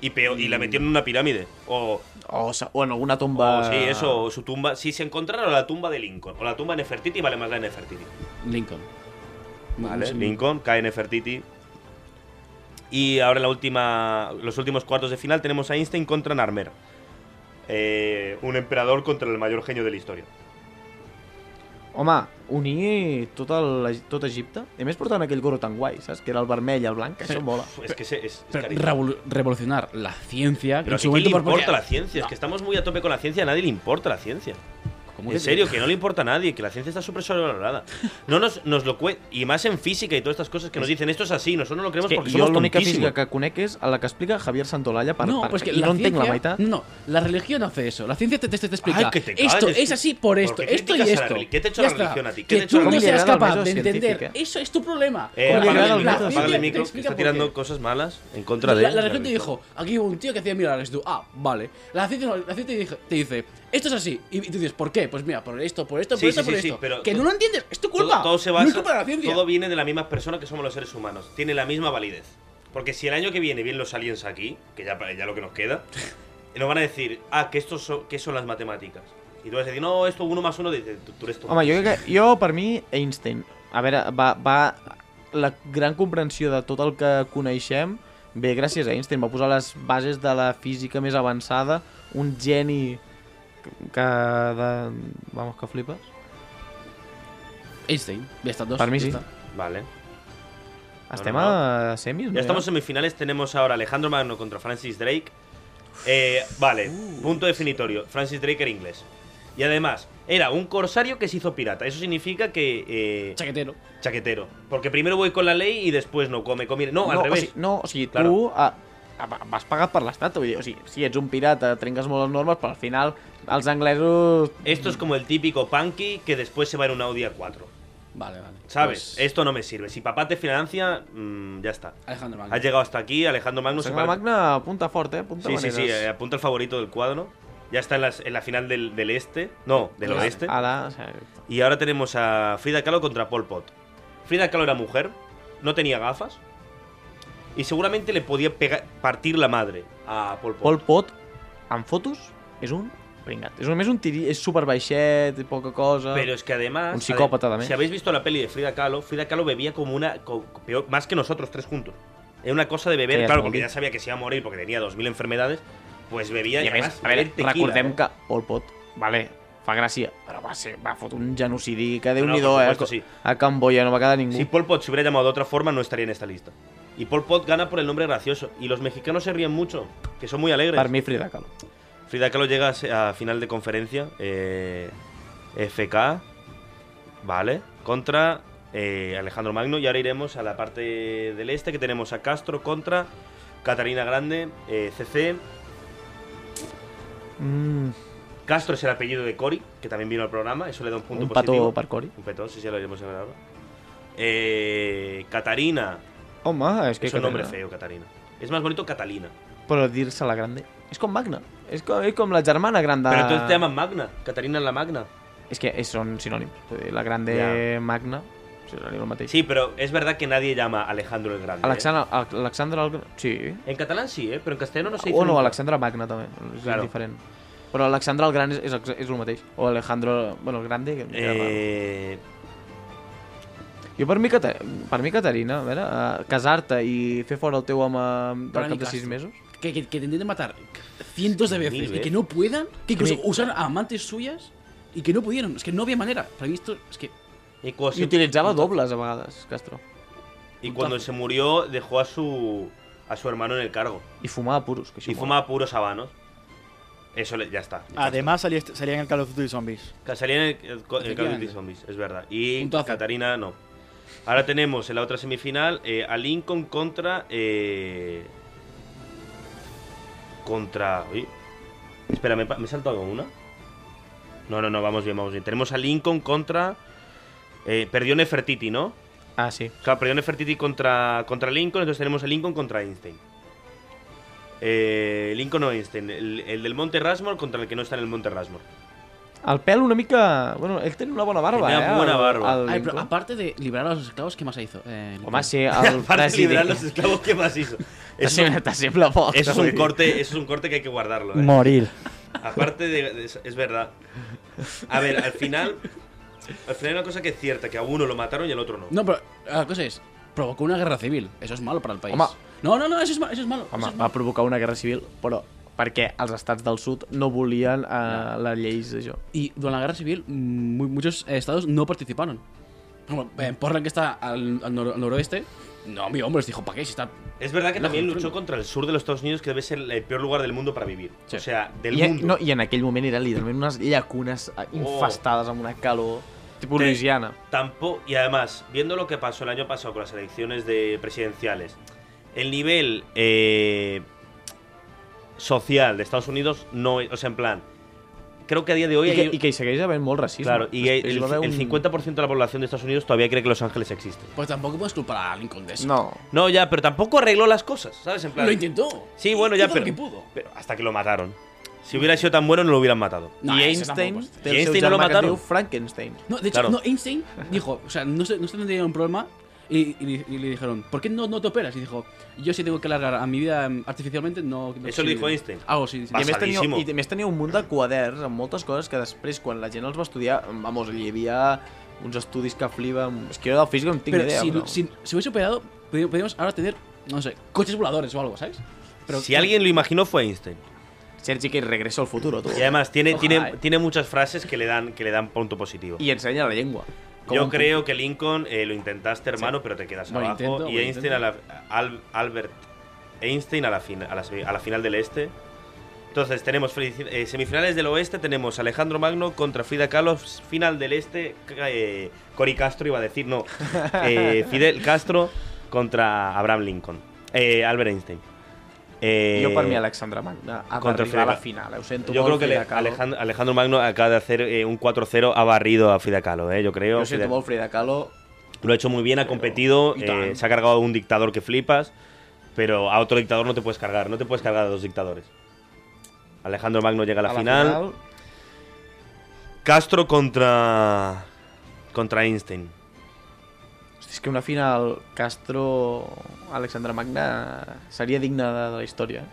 S1: Y, peor, y
S3: Mm.
S1: la metieron en una pirámide. O
S2: O, sa- o en alguna
S1: O
S2: tomba...
S1: Oh, sí, eso, o su tumba. Si se encontraron la tumba de Lincoln o la tumba de Nefertiti, vale más la de Nefertiti.
S3: Lincoln.
S1: Vale,
S3: Sí.
S1: Lincoln, cae Nefertiti. Y ahora en la última, los últimos cuartos de final tenemos a Einstein contra Narmer. Eh, un emperador contra el mayor genio de la historia.
S2: Home, unir tot, el, tot Egipte, i a més portant aquell gorro tan guai, saps? Que era el vermell i el blanc, que això mola.
S1: Uf, es que se- es, es
S3: Pero
S1: carísimo.
S3: revolu- revolucionar la ciencia. que
S1: Pero
S3: en
S1: ¿a
S3: su
S1: quién le
S3: momento, por-
S1: importa la
S3: porque-
S1: ciencia? Es que estamos muy a tope con la ciencia, a nadie le importa la ciencia.
S3: ¿Cómo
S1: En
S3: que-
S1: serio, que no le importa a nadie, que la ciencia está súper sobrevalorada. No nos, nos lo cue Y más en física y todas estas cosas que nos dicen, esto es así, nosotros no lo creemos
S2: És que
S1: porque
S2: jo
S1: somos
S2: l'única
S1: tontísimos.
S2: física que conec és a la que explica Javier Santolalla per
S3: no,
S2: part,
S3: pues que
S2: i
S3: la
S2: no entenc
S3: ciencia,
S2: la meitat.
S3: No, la religión hace eso. La ciencia te, te, te explica.
S1: Ay, que te
S3: esto
S1: calles,
S3: es
S1: que-
S3: así por esto,
S1: ¿por qué
S3: esto y
S1: criticas a la
S3: esto.
S1: religión? ¿Qué te ha hecho
S3: Ya
S1: la
S3: está.
S1: religión a ti? ¿Qué
S3: Que
S1: te ha hecho
S3: tú
S1: la
S3: no
S2: religión?
S3: seas
S2: ¿Cómo le
S3: capaz
S2: agrada
S3: de
S2: al método
S3: entender.
S2: científico?
S3: Eso es tu problema.
S1: Eh,
S2: ¿Cómo
S3: Porque
S1: apaga
S2: llegar
S3: la
S1: el
S2: al
S1: micro,
S2: método?
S1: apaga
S3: ciencia
S1: el
S3: te
S1: micro, que
S3: explica
S1: está
S3: por
S1: tirando
S3: qué.
S1: cosas malas en
S3: La,
S1: contra de
S3: la,
S1: él.
S3: religión te dijo, aquí hubo un tío que hacía milagros. y Tú, ah, vale. La ciencia, no, la ciencia te, dice, te dice, esto es así. Y tú dices, ¿por qué? Pues mira, por esto, por esto, por
S1: Sí,
S3: esto,
S1: sí,
S3: por
S1: sí, sí,
S3: esto.
S1: pero
S3: que
S1: todo-
S3: no lo entiendes, es tu culpa.
S1: Todo, todo se
S3: no es
S1: basa,
S3: culpa de la ciencia.
S1: todo viene de la misma persona que somos los seres humanos. Tiene la misma validez. Porque si el año que viene vienen los aliens aquí, que ya, ya lo que nos queda, nos van a decir, ah, que estos son, que son las matemáticas. Y tú vas a decir, no, esto uno más uno, dice, tú, tú eres tonto.
S2: Home, jo, crec que, jo per mi, Einstein. A veure, va, va... La gran comprensió de tot el que coneixem ve gràcies a Einstein. Va posar les bases de la física més avançada, un geni que- que... De... Vamos, que flipes.
S3: Einstein, ya están dos.
S2: Per mi
S3: ya
S2: sí.
S3: está.
S1: Vale.
S2: Estem
S1: no,
S2: a semis, no? eh?
S1: Ya estamos en semifinales, tenemos ahora Alejandro Magno contra Francis Drake. Eh, vale, punto definitorio. Francis Drake era inglés. Y además, era un corsario que se hizo pirata. Eso significa que... eh,
S3: Chaquetero.
S1: chaquetero. Porque primero voy con la ley y después no, come, come. No, al
S2: o
S1: revés.
S2: sigui, no, o sigui,
S1: Claro.
S2: tu, a, va- vas pagat per l'estat, vull dir, o sigui, si ets un pirata, trenques molt les normes, però al final els anglesos...
S1: Esto es como el típico punky que después se va en un Audi A4.
S3: Vale, vale.
S1: ¿Sabes?
S3: Pues,
S1: Esto no me sirve. Si papá te financia, mm, ya está.
S3: Alejandro Magno.
S1: Has llegado hasta aquí, Alejandro Magnus. se
S2: Sangre
S1: parece-
S2: Magna apunta fort, eh? Apunta
S1: Sí, sí, sí,
S2: maneres.
S1: eh, apunta el favorito del cuadro. Ya está en, las- en la final del, del este. No, del
S3: Del
S1: oeste.
S2: Ara, o sigui,
S1: Y ahora tenemos a Frida Kahlo contra Pol Pot. Frida Kahlo era mujer, no tenía gafas. Y seguramente le podía pega- partir la madre a Pol Pot.
S2: Pol Pot, en fotos, és un pringat. És només un tiri, és super baixet, poca cosa...
S1: Pero es que además.
S2: Un psicópata
S1: adem-
S2: también.
S1: Si habéis visto la peli de Frida Kahlo, Frida Kahlo bebía como una. co- peor- más que nosotros tres juntos. Era una cosa de beber,
S2: Sí, es
S1: claro,
S2: muy
S1: porque
S2: bien.
S1: ya sabía que se iba a morir porque tenía 2.000 enfermedades. Pues bebía
S2: I a més,
S1: además,
S2: a veure,
S1: beber tequila,
S2: recordem
S1: ¿eh?
S2: que Pol Pot, vale, fa gràcia, però va, ser, va fotre un genocidi que déu
S1: No,
S2: nhi
S1: no,
S2: do
S1: per
S2: eh?
S1: supuesto, sí.
S2: A Camboya no va quedar ningú.
S1: Si Pol Pot se hubiera llamado de otra forma, no estaría en esta lista. Y Pol Pot gana por el nombre gracioso. Y los mexicanos se ríen mucho, que son muy alegres.
S2: per mi Frida Kahlo.
S1: Frida Kahlo llega a se- a final de conferencia. eh, FK, ¿vale? Contra eh, Alejandro Magno. Y ahora iremos a la parte del este, que tenemos a Castro contra Catarina Grande, eh, CC.
S2: Mm,
S1: Castro es el apellido de Cory, que también vino al programa. Eso le da un punto
S2: un
S1: positivo.
S2: pató per Cori.
S1: Un petón, sí, sí, lo iremos a ver ahora. Eh, Catarina.
S2: Home, és que...
S1: Es un nombre
S2: Catalina.
S1: feo, Catarina. Es más bonito Catalina.
S2: Però dir-se la grande. És com Magna. És com, és com la germana gran de...
S1: Pero entonces te llaman Magna. Catarina la Magna.
S2: És que és, són sinònims. Vull dir, La grande
S1: Ja.
S2: Magna... Sinònim el mateix.
S1: Sí, pero es verdad que nadie llama a Alejandro el Grande. ¿eh?
S2: Alexandra, Alexandra... el- Sí.
S1: En catalán sí, ¿eh? pero en castellano no se dice.
S2: O no,
S1: nunca.
S2: Alexandra Magna també. És
S1: Claro.
S2: diferent. Però Alexandra el Gran és, és, ex- és el mateix. O Alejandro... Bueno, el Grande... Que era raro.
S1: Eh,
S2: Jo per mi, Cata- per mi Caterina, a veure, eh, casar-te i fer fora el teu home
S3: Per mi
S2: del cap de
S3: Castro.
S2: 6 mesos...
S3: Que, que, que te intenten matar cientos de veces
S1: Mil
S3: y que
S1: veces.
S3: no puedan, que incluso
S2: mí-
S3: usaron a amantes suyas y que no pudieron. Es que no había manera. Para mí esto es que.
S1: y cuando,
S2: I
S1: se,
S2: utilitzava dobles a vegades, Castro.
S1: y cuando se murió, dejó a su, a su hermano en el cargo.
S2: I fumava puros, que això
S1: Y
S2: mola.
S1: fumaba puros habanos. Eso le- ya está.
S4: Además salía, este- salía en el Call of Duty Zombies.
S1: Que Salía en el, el, co- el Call of Duty
S3: Efectivamente.
S1: Zombies, es verdad. Y
S3: Puntazo.
S1: Catarina no. Ahora tenemos en la otra semifinal eh, a Lincoln contra. eh, contra. uy. Espera, ¿me, pa- me he saltado una? No, no, no, vamos bien, vamos bien. Tenemos a Lincoln contra. Eh, perdió Nefertiti, ¿no?
S2: Ah, sí.
S1: Claro, perdió Nefertiti contra, contra Lincoln, entonces tenemos a Lincoln contra Einstein. Eh, Lincoln o Einstein, el, el del Monte Rasmor contra el que no está en el Monte Rasmor.
S2: El pèl una mica... Bueno, ell tenia una bona barba,
S1: Tenia
S2: eh?
S1: bona
S2: el-
S1: barba.
S2: El,
S3: Ay,
S2: Lincoln.
S3: pero aparte de liberar a los esclavos, ¿qué más hizo? Eh,
S2: Home,
S3: Lincoln?
S2: sí, el
S1: Aparte de liberar los
S2: president...
S1: esclavos, ¿qué más hizo? Eso,
S2: T'assembla- T'assembla poc. eh?
S1: eso es
S2: vull
S1: un
S2: dir.
S1: corte, eso es un corte que hay que guardarlo. ¿eh?
S4: Morir.
S1: Aparte de, de- es, es verdad. A ver, al final, al final hay una cosa que es cierta, que a uno lo mataron y al otro no.
S3: No, pero la cosa es: provocó una guerra civil. Eso es malo para el país.
S2: Home.
S3: No, no, no, eso es malo. Eso es malo. eso
S2: Home,
S3: es
S2: va
S3: malo.
S2: provocar una guerra civil, però perquè els estats del sud no volien eh, les lleis d'això.
S3: Y durante la guerra civil, mu- muchos eh, estados no participaron. Como, eh, Portland, que está al, al nor- al noroeste, no, mi hombre, les dijo: ¿para qué? Si está.
S1: Es verdad que
S3: No,
S1: también
S3: no, no.
S1: luchó contra el sur de los Estados Unidos, que debe ser el peor lugar del mundo para vivir.
S3: Sí.
S1: O sea, del
S2: I,
S1: mundo. Oh.
S2: no, I en aquell moment eren literalment unes llacunes eh, infestades amb una calor tipus
S1: Té-
S2: louisiana.
S1: Tampo- y además, viendo lo que pasó el año pasado con las elecciones de presidenciales, el nivel eh, social de Estados Unidos no es. O sea, en plan. Creo que a día de hoy.
S2: I, que,
S1: hay-
S2: I que hi segueix havent molt racisme.
S1: claro, y
S3: Pues
S1: el,
S2: Després va haver
S1: el 50% de la población de Estados Unidos todavía cree que Los Ángeles existe.
S3: Pues tampoco puedes culpar a Lincoln de eso.
S2: No.
S1: No, ya, pero tampoco arregló las cosas, ¿sabes? En plan.
S3: Lo intentó.
S1: Sí, bueno, ya,
S3: Hizo
S1: pero,
S3: Lo que pudo.
S1: pero hasta que lo mataron. Si hubiera sido tan bueno, no lo hubieran matado.
S3: No,
S2: I
S3: eso
S2: Einstein
S3: tampoco es-
S2: té el
S1: I
S2: seu
S1: Einstein no
S2: germà
S1: lo
S2: que es
S1: mataron.
S2: diu Frankenstein.
S3: No, de hecho,
S1: Claro.
S3: no, Einstein dijo, o sea, no se, no se tenía un problema y, y le- y le dijeron, ¿por qué no, no te operas? Y dijo, yo si tengo que alargar a mi vida em, artificialmente, no... no
S1: Eso lo
S3: sí".
S1: dijo Einstein.
S3: Algo sí, sí.
S2: I a, més tenia,
S1: Passadíssimo.
S2: I a més tenia un munt de quaderns amb moltes coses que després, quan la gent els va estudiar, vamos, hi havia uns estudis que fliba... És que jo del físic no en tinc
S3: Pero
S2: idea,
S3: si,
S2: però...
S3: si, si hubiese operado, pudi- podríamos ahora tener, no sé, coches voladores o algo, ¿sabes? Pero,
S1: si alguien lo imaginó fue Einstein.
S2: Sergi que regresa al futuro, tu.
S1: Y además tiene, tiene,
S3: Ojalá, eh.
S1: tiene muchas frases que le dan, que le dan punto positivo.
S2: I ensenya la llengua. Com
S1: Yo
S2: un-
S1: creo que Lincoln eh, lo intentaste, hermano, pero te quedas
S3: Buen
S1: abajo.
S3: intento,
S1: y
S3: buen
S1: Einstein, a la, Al- Albert Einstein a la, fin- a, la, semi- a la final del este. Entonces, tenemos felici- eh, semifinales del oeste, tenemos Alejandro Magno contra Frida Kahlo, s- final del este, c- eh, Cory Castro iba a decir, no, eh, Fidel Castro contra Abraham Lincoln, eh, Albert Einstein. Eh,
S2: Jo per mi Alexandre Magna ha
S1: contra
S2: d'arribar a la
S1: Frida.
S2: final, eh? ho sento
S1: Yo
S2: molt,
S1: creo que
S2: Frida
S1: le-
S2: Kahlo.
S1: Alejandro, Alejandro Magno acaba de hacer eh, un 4-0, ha barrido a Frida Kahlo, eh, yo creo.
S2: Jo sento
S1: Frida-
S2: molt Frida Kahlo,
S1: lo ha hecho muy bien, ha competido,
S2: y
S1: eh,
S2: tan.
S1: se ha cargado a un dictador que flipas, pero a otro dictador no te puedes cargar, no te puedes cargar a dos dictadores. Alejandro Magno llega a la, final. Castro contra contra Einstein.
S2: Hosti, és que una final Castro-Alexandre Magna seria digna de, de la història.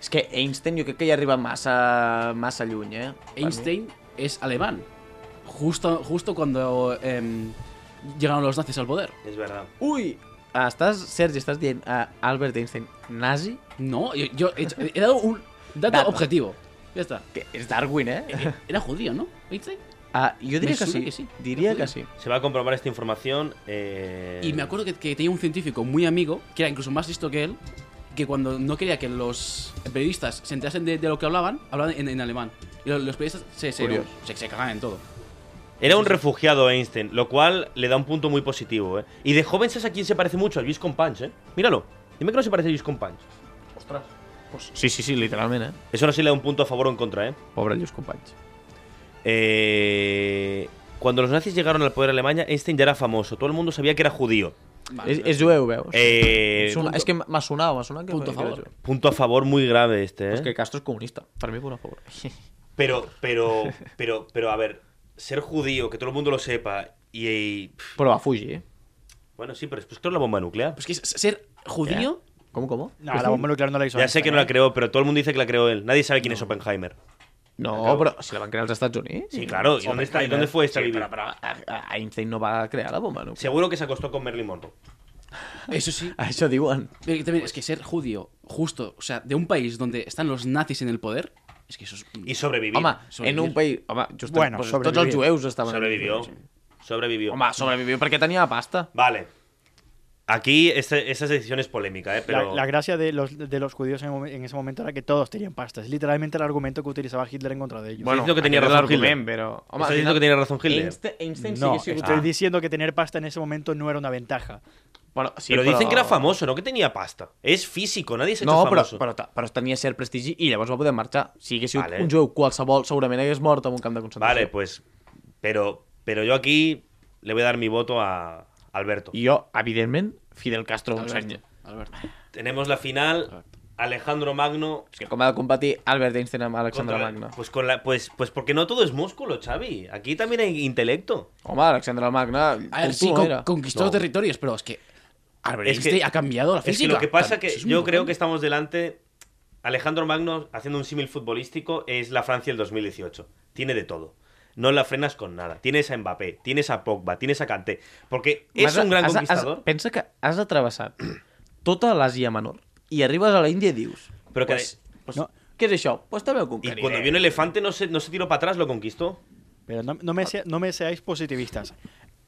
S2: És que Einstein jo crec que ja arriba massa, massa lluny, eh? Per mi.
S3: Einstein es alemán. Justo, justo cuando em, llegaron los nazis al poder.
S1: Es verdad.
S2: Ui! Ah, Estàs, Sergi, estàs dient a Albert Einstein nazi?
S3: No, yo, yo he, hecho- he dado un dato
S2: Dato.
S3: objetivo. Ya está. E-,
S2: Que és Darwin, eh?
S3: Era judío, ¿no? Einstein.
S2: Ah, jo diria
S3: Me
S2: que
S3: sona
S2: sí.
S3: que sí.
S2: Diria que
S3: Joder.
S2: sí.
S1: Se va a comprobar esta información. eh,
S3: Y me acuerdo que, que tenía un científico muy amigo, que era incluso más listo que él, que cuando no quería que los periodistas se enterasen de, de lo que hablaban, hablaban en, en alemán. Y lo- los, periodistas se, se,
S2: Curioso.
S3: se, se cagaban en todo.
S1: Era un refugiado Einstein, lo cual le da un punto muy positivo. ¿eh? Y de joven, ¿sabes a quién se parece mucho? A Luis Companch, ¿eh? Míralo. Dime que no se parece a Luis Companch.
S2: Ostres. Pues, sí, sí, sí, literalment, eh?
S1: Eso no sé si le da un punto a favor o en contra, ¿eh?
S2: Pobre Lluís Companys.
S1: Eh, Cuando los nazis llegaron al poder a Alemania, Einstein ya era famoso. Todo el mundo sabía que era judío.
S3: Vale,
S2: És, és jueu, veus?
S1: Eh,
S2: Sona-
S3: punto.
S2: és que m'ha sonat, m'ha sonat que...
S3: Punto a
S2: que era
S3: favor.
S2: jueu.
S1: punto a favor muy grave este, ¿eh?
S2: És que Castro és comunista. Per mi, punt a favor.
S1: Pero, pero, pero, pero, a ver, ser judío, que todo el mundo lo sepa, y. y- pff,
S2: Però va fugir, eh?
S1: bueno, sí, pero después creó la bomba nuclear.
S3: Pues que es- ser judío,
S2: Eh? Com, com?
S4: No, la bomba nuclear no la hizo.
S1: ya sé que no la
S4: Einstein,
S1: creó, pero todo el mundo dice que la creó él. Nadie sabe quién es Oppenheimer.
S2: No, però si la van crear als Estats Units.
S1: Sí, claro. ¿Y dónde, está, y dónde fue esta
S2: Sí,
S1: vivienda?
S2: però, però
S1: eh,
S2: a- a- Einstein no va crear la bomba, no? Sí.
S1: Seguro que se acostó con Merlin Monroe.
S3: eso sí.
S2: Això diuen.
S3: Pero que también es que ser judío, justo, o sea, de un país donde están los nazis en el poder, es que eso es.
S1: Y sobrevivió.
S2: Home,
S3: sobrevivir.
S2: en un país... Home, just
S4: Bueno,
S2: pues, tots
S4: sobrevivir.
S2: els jueus estaven...
S1: sobrevivió. Sobrevivió.
S2: Home, sobrevivió perquè tenia pasta.
S1: Vale. Aquí esta, esta decisión es polémica, ¿eh?
S4: La,
S1: Pero
S4: la gracia de los, de los judíos en, en ese momento era que todos tenían pasta. Es literalmente el argumento que utilizaba Hitler en contra de ellos.
S1: diciendo que tenia
S2: aquest
S1: razón
S2: és l'argument,
S1: Hitler.
S2: Però...
S1: Estàs dient que tenia razón Hitler.
S2: Einstein, Einstein
S4: no,
S2: sí que
S4: estoy
S2: sí que...
S4: diciendo que tener pasta en ese momento no era una ventaja.
S2: Però, sí,
S1: pero dicen que era famoso, no que tenía pasta. Es físico, nadie se ha hecho
S2: No, però,
S1: famoso.
S2: però, ta- però tenia cert prestigi i llavors va poder marxar. Si hagués sigut
S1: Vale.
S2: un jueu qualsevol, segurament hagués mort en un camp de
S1: Vale,
S2: concentració.
S1: pues. Pero, pero yo aquí le voy a dar mi voto a Alberto.
S2: I jo, evidentment, Fidel Castro un
S3: Alberto,
S2: senyor.
S3: Alberto.
S1: Tenemos la final. Alejandro Magno.
S2: És que com ha de competir Albert Einstein amb Alexandre
S1: contra-
S2: Magna?
S1: Pues con la. Pues, pues porque no todo es músculo, Xavi. Aquí también hay intelecto.
S2: Home, Alexandre Magna...
S3: A ver,
S2: com
S3: sí,
S2: tu,
S3: con-
S2: era.
S3: conquistó
S1: No.
S3: territorios, pero es que. Albert
S1: Es que-
S3: Einstein ha cambiado la
S1: Es
S3: física.
S1: que lo que pasa
S3: Eso
S1: que
S3: es muy
S1: yo creo
S3: bueno.
S1: que estamos delante. Alejandro Magno, haciendo un símil futbolístico, es la Francia del 2018. Tiene de todo. No la frenas con nada. Tienes a Mbappé, tienes a Pogba, tienes a Kanté. Porque es
S2: M'has-
S1: un gran
S2: has- has-
S1: conquistador.
S2: pensa que has atrevessat tota l'Àsia Menor i arribes a l'Índia i dius...
S1: Però que-
S2: Pues, pues,
S4: No.
S2: no. Què és això? Pues també ho
S1: Y
S2: conqueriré.
S1: cuando vio un elefante, no se, no se tiró para atrás, lo conquistó.
S4: Pero no, no me, sea- no me seáis positivistas.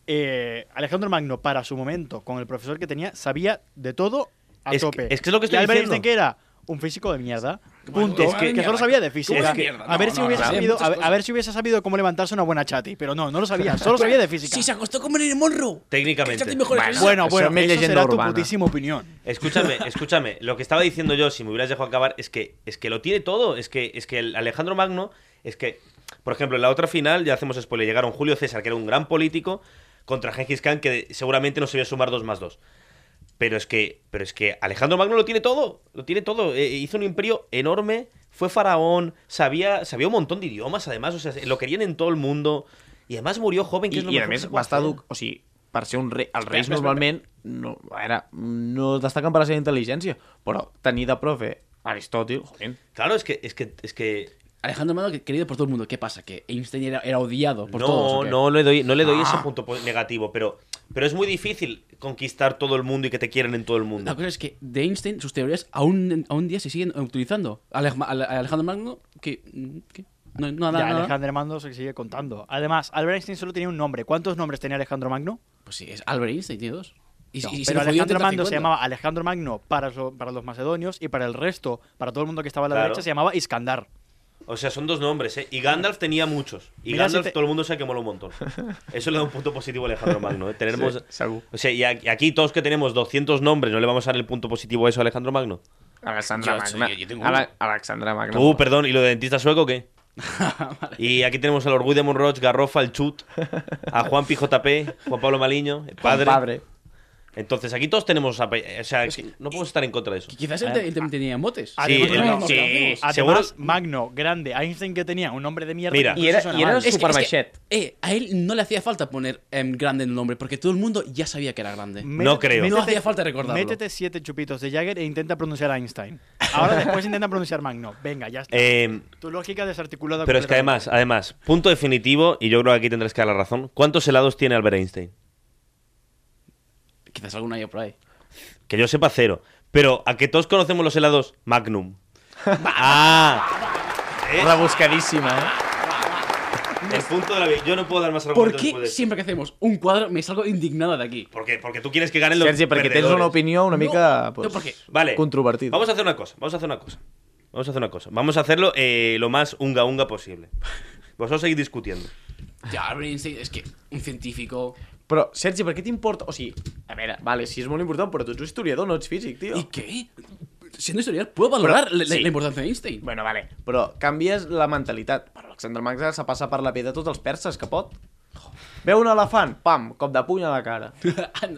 S4: Eh, Alejandro Magno, para su momento, con el profesor que tenía, sabía de todo a
S1: Es que-
S4: tope.
S1: es que es lo que estoy
S4: y Albert
S1: diciendo.
S4: Einstein, que era un físico de mierda.
S3: Bueno,
S4: Punto.
S3: es
S4: que,
S3: que-
S4: solo sabía de física.
S1: Es que-
S4: a ver
S3: no,
S4: si
S3: no,
S4: hubiese
S3: no, no.
S4: sabido,
S3: Muchas
S4: a, ver, a
S3: cosas.
S4: ver si hubiese sabido cómo levantarse una buena chati, pero no, no lo sabía. Solo sabía de física.
S3: Sí, se acostó con Marilyn Monroe.
S1: Técnicamente.
S3: Fíjate mejor en
S2: Bueno,
S3: eso.
S4: bueno,
S2: Eso
S4: bueno,
S2: me es
S4: eso
S2: leyenda
S4: será
S2: urbana.
S4: tu putísima opinión.
S1: Escúchame, escúchame. Lo que estaba diciendo yo, si me hubieras dejado acabar, es que, es que lo tiene todo. Es que, es que el Alejandro Magno, es que, por ejemplo, en la otra final, ya hacemos spoiler, llegaron Julio César, que era un gran político, contra Gengis Khan, que seguramente no se iba a sumar dos más dos. Pero es que, pero es que Alejandro Magno lo tiene todo, lo tiene todo. Eh, hizo un imperio enorme, fue faraón, sabía, sabía un montón de idiomas, además, o sea, lo querían en todo el mundo. Y además murió joven, que
S2: I,
S1: es lo
S2: i a
S1: mejor que
S2: més
S1: se puede
S2: va estar...
S1: hacer.
S2: Edu... O sigui, per ser un rei, els reis
S1: espera, espera.
S2: normalment no, a veure, no es destaquen per la seva intel·ligència, però tenir de profe Aristòtil, joder,
S1: Claro, es que, es que, es que
S3: Alejandro Magno, que- querido por todo el mundo. ¿Qué pasa? ¿Que Einstein era, era odiado por
S1: no,
S3: todos? ¿o qué?
S1: no le doy, no le doy ese punto po- negativo, pero, pero es muy difícil conquistar todo el mundo y que te quieran en todo el mundo.
S3: La cosa es que de Einstein sus teorías aún, aún día se siguen utilizando. Alej- Ale- Alejandro Magno, que... que no, no, nada,
S4: Ya,
S3: nada.
S4: Alejandro Magno se sigue contando. Además, Albert Einstein solo tenía un nombre. ¿Cuántos nombres tenía Alejandro Magno?
S3: Pues sí, es Albert Einstein, tiene dos. Y,
S4: No,
S3: y- y se
S4: pero
S3: lo jodió
S4: Alejandro
S3: entre
S4: Magno se
S3: 50.
S4: llamaba Alejandro Magno para, so- para los macedonios y para el resto, para todo el mundo que estaba a la
S1: Claro.
S4: derecha, se llamaba Iskandar.
S1: O sea, son dos nombres, ¿eh? Y Gandalf tenía muchos. Y
S4: Mira,
S1: Gandalf
S4: si te-
S1: todo el mundo se que mola un montón. Eso le da un punto positivo a Alejandro Magno, ¿eh? Tenemos...
S2: Sí, segur.
S1: O sea, y a- y aquí todos que tenemos 200 nombres, ¿no le vamos a dar el punto positivo a eso a Alejandro Magno?
S2: Alexandra
S3: Yo-
S2: Magna.
S3: yo- yo tengo uno.
S2: Ala- Alexandra Magna.
S1: Tú, perdón, ¿y lo de dentista sueco o qué? Y aquí tenemos al Orgullo de Monroch, Garrofa, el Chut, a Juan PJP, Juan Pablo Maliño, el
S2: Padre.
S1: padre. Entonces aquí todos tenemos. ape- O sea, que no podemos estar en contra de eso.
S3: Qui- Quizás él, te- él también tenía motes.
S4: Ah,
S1: Sí,
S4: además,
S1: el-
S4: no,
S1: sí,
S3: no,
S4: Además,
S1: seguro.
S4: Magno, grande, Einstein que tenía un nombre de mierda.
S1: Mira.
S4: incluso
S2: Y era,
S4: suena
S2: y era
S4: mal.
S3: que-
S2: super
S3: que, eh, a él no le hacía falta poner em, grande en el nombre, porque todo el mundo ya sabía que era grande.
S1: No creo.
S3: No hacía falta recordarlo.
S4: Métete siete chupitos de Jagger e intenta pronunciar Einstein. Ahora después intenta pronunciar Magno. Venga, ya está.
S1: Eh,
S4: tu lógica desarticulada.
S1: pero es que además,
S4: Ah, completamente.
S1: además, punto definitivo, y yo creo que aquí tendrás que dar la razón. ¿Cuántos helados tiene Albert Einstein?
S3: Quizás alguna haya por ahí.
S1: Que yo sepa cero. Pero a que todos conocemos los helados Magnum. ah,
S2: Rebuscadísima, eh.
S1: el punto de la vi- Yo no puedo dar más
S3: ¿Por
S1: argumentos.
S3: qué
S1: después de-
S3: siempre que hacemos un cuadro me salgo indignado de aquí?
S1: Porque, porque tú quieres que ganen los.
S2: Sergi, perquè tens una
S1: perdedores.
S2: opinió una
S3: No,
S2: mica...
S3: no,
S2: pues,
S3: perquè-
S1: Vale.
S2: Controvertida.
S1: Vamos a hacer una cosa. Vamos a hacer una cosa. Vamos a hacer una cosa. Vamos a hacerlo eh, lo más unga unga posible. Vosotros seguís discutiendo.
S3: Ya, Albert Einstein es que un científico.
S2: Però, Sergi, per què t'importa? O sigui, a veure, vale, sí, és molt important, però tu ets historiador, no ets físic, tio.
S3: ¿Y qué? Siendo historial, puedo valorar la, la-
S2: sí.
S3: la importancia de Einstein.
S2: Bueno, vale. Però canvies la mentalitat. Per Alexander Magna se passa per la pell de tots els perses que pot. Veu un elefant, pam, cop de puny a la cara.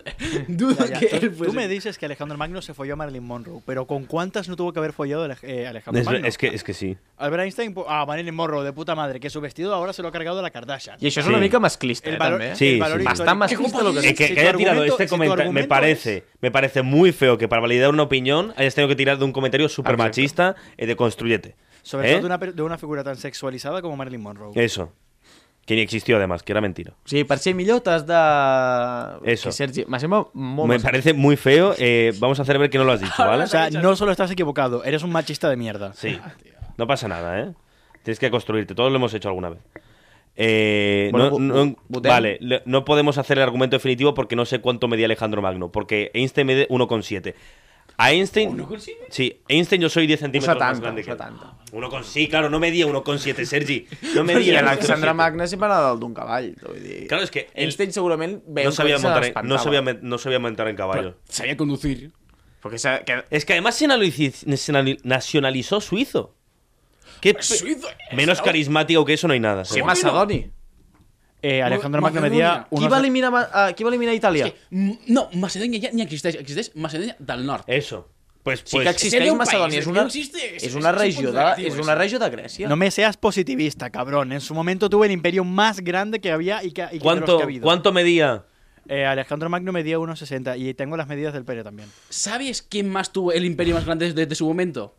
S3: Dudo
S4: Ya,
S3: que
S4: tú-
S3: él
S4: Tú
S3: fuese-
S4: me dices que Alejandro Magno se folló a Marilyn Monroe, pero ¿con cuántas no tuvo que haber follado Alej- eh, Alejandro
S1: Es,
S4: Magno?
S1: es que, es que sí.
S4: Albert Einstein, po- ah, Marilyn Monroe, de puta madre, que su vestido ahora se lo ha cargado la Kardashian.
S2: I això és
S1: Sí.
S2: una mica masclista,
S4: El
S2: eh,
S4: valor,
S2: també. eh?
S1: Sí,
S4: el valor
S1: sí.
S4: histórico-
S2: Bastant masclista lo que
S1: Eh, que,
S4: Si
S1: que
S4: tu
S1: haya tirado
S4: argumento-
S1: este
S4: si tu
S1: comentario. Me
S4: argumento
S1: parece,
S4: es-
S1: me parece muy feo que para validar una opinión hayas tenido que tirar de un comentario súper machista de construyete. ¿eh?
S4: Sobre todo de una, per- de una figura tan sexualizada como Marilyn Monroe.
S1: Eso. Que ni existió además, que era mentira.
S2: O sigui, per ser millor t'has de...
S1: Eso.
S2: Que, Sergi, me sembla molt...
S1: Me
S2: masclista.
S1: parece muy feo. eh, vamos a hacer ver que no lo has dicho, ¿vale?
S4: O sea, no solo estás equivocado, eres un machista de mierda.
S1: Sí. No pasa nada, ¿eh? Tienes que construirte. Todos lo hemos hecho alguna vez. Eh,
S2: Bueno,
S1: no-
S2: bu-
S1: no-
S2: bu- votem.
S1: vale, le- no podemos hacer el argumento definitivo porque no sé cuánto medía Alejandro Magno. Porque Einstein mide 1,7. A Einstein.
S3: ¿1,7?
S1: Sí, Einstein yo soy 10 centímetros más
S2: 1,70,
S1: grande que él.
S2: 1,70.
S1: 1,7. Sí, claro, no medía 1,7, Sergi. No
S2: I
S1: medía.
S2: Alexandre
S1: 1,7.
S2: Magna sempre anava dalt d'un cavall. Vull dir...
S1: Claro, és que ell-
S2: Einstein segurament... veia
S1: No
S2: un
S1: sabía,
S2: cotxe i se
S1: montar en, no,
S2: l'espantava.
S1: sabía, men- no sabía montar en caballo.
S3: Sabía conducir.
S2: Perquè s'ha- que...
S1: Es que además se nacionaliz- nacionali- nacionalizó suizo. ¿Qué pe-
S3: Suizo,
S1: Menos
S3: estaba-
S1: carismático que eso no hay nada.
S2: Sí,
S1: seguro.
S2: Macedoni.
S4: Eh, Alejandro
S3: Ma-
S4: Magno medía
S3: Macedonia.
S2: Qui va
S4: unos...
S2: eliminar, Ma- eh, qui va eliminar Itàlia?
S3: Es que, mm, no, Macedonia ya ni existeix. Existeix Macedònia del Nord.
S1: Eso. Pues,
S2: Sí
S1: pues-
S2: que
S3: Seria
S2: existeix
S3: un país,
S2: Macedònia, és
S3: no
S2: una,
S3: existe, és-
S2: és una
S3: és un
S2: regió
S3: punt
S2: de,
S3: negatiu,
S2: és
S3: això.
S2: una regió de Grècia.
S4: No me seas positivista, cabrón. En su momento tuvo el imperio más grande que había y que, y que de los que
S1: ¿Cuánto,
S4: ha habido.
S1: ¿Cuánto medía?
S4: Eh, Alejandro Magno medía 1,60 y tengo las medidas del pene también.
S3: ¿Sabes quién más tuvo el imperio más grande desde su momento?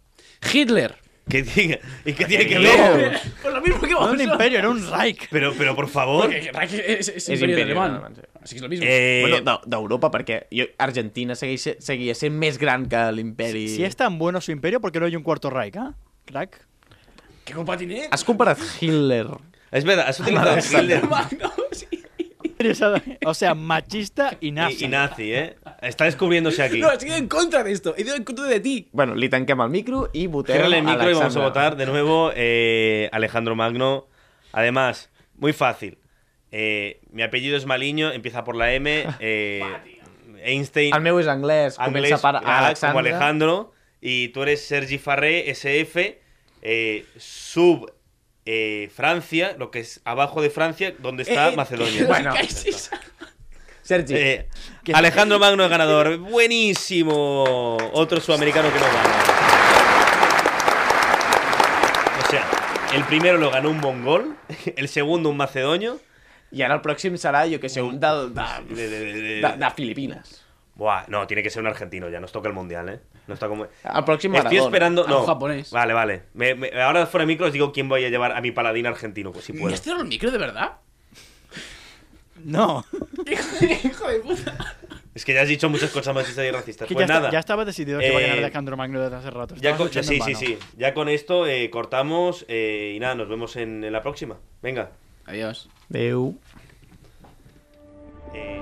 S3: Hitler.
S1: ¿Qué tiene, ¿Y qué tiene que
S2: No.
S1: ver?
S3: Pues lo mismo que
S4: No
S3: vos.
S4: era un imperio, era un Reich.
S1: Pero, pero por favor.
S3: Porque Reich es, es,
S2: Es
S3: imperio,
S2: imperio
S3: alemán.
S2: alemán, sí.
S3: Así que es lo mismo.
S1: Eh,
S2: Bueno, d'Eu- d'Europa, perquè jo, Argentina segueix, se- seguia sent més gran que l'imperi...
S4: Si es tan bueno su imperio, ¿por qué no hay un cuarto Reich, ah? Crack.
S3: ¿Qué culpa tiene?
S2: Has comparat Hitler...
S1: es verdad, has utilizado Hitler
S3: Magno, sí.
S4: O sea, machista y nazi.
S1: y, y nazi, ¿eh? Está descubriéndose aquí.
S3: No, he ido en contra de esto. He ido en contra de ti.
S2: Bueno, li tanquem el micro i votem
S1: Cierra el
S2: a
S1: micro y vamos a
S2: Alexandre.
S1: votar de nuevo eh, Alejandro Magno. Además, muy fácil. Eh, mi apellido es Maliño, empieza por la M. eh, Einstein,
S2: El meu és anglès,
S1: Anglés,
S2: comença per
S1: ah, como
S2: Alexandre.
S1: Alejandro. Y tú eres Sergi Farré, SF, eh, sub eh, Francia, lo que es abajo de Francia, donde está Macedonia.
S2: bueno.
S3: ¿Qué es eso?
S2: Sergi, eh,
S1: Eh, Alejandro Magno es ganador. Buenísimo. Otro sudamericano que no gana. O sea, el primero lo ganó un mongol, el segundo un macedonio.
S2: i ara el pròxim serà, jo que sé, un de, de,
S1: De- de- de- de-
S2: de, de Filipines.
S1: Buah, no, tiene que ser un argentino ya. Nos toca el mundial, ¿eh? No está como...
S2: El pròxim
S1: Estoy
S2: Maradona.
S1: esperando.
S3: A
S1: No,
S3: un japonés.
S1: Vale, vale. Me- me- ahora fuera de micro os digo quién voy a llevar a mi paladín argentino, pues, si
S3: ¿Me
S1: puedo.
S3: has tirado el micro de verdad?
S4: No.
S3: Hijo de, hijo de puta.
S1: Es que ya has dicho muchas cosas machistas y racistas.
S4: Que
S1: Pues
S4: ya,
S1: nada.
S4: está- ya estaba decidido que iba a ganar
S1: Eh,
S4: Alejandro Magno desde hace rato.
S1: Ya
S4: Estabas
S1: con, ya-
S4: luchando
S1: sí,
S4: en
S1: sí,
S4: vano.
S1: sí. Ya con esto eh, cortamos eh, y nada, nos vemos en, en la próxima. Venga.
S3: Adiós.
S2: Adéu.
S1: Eh,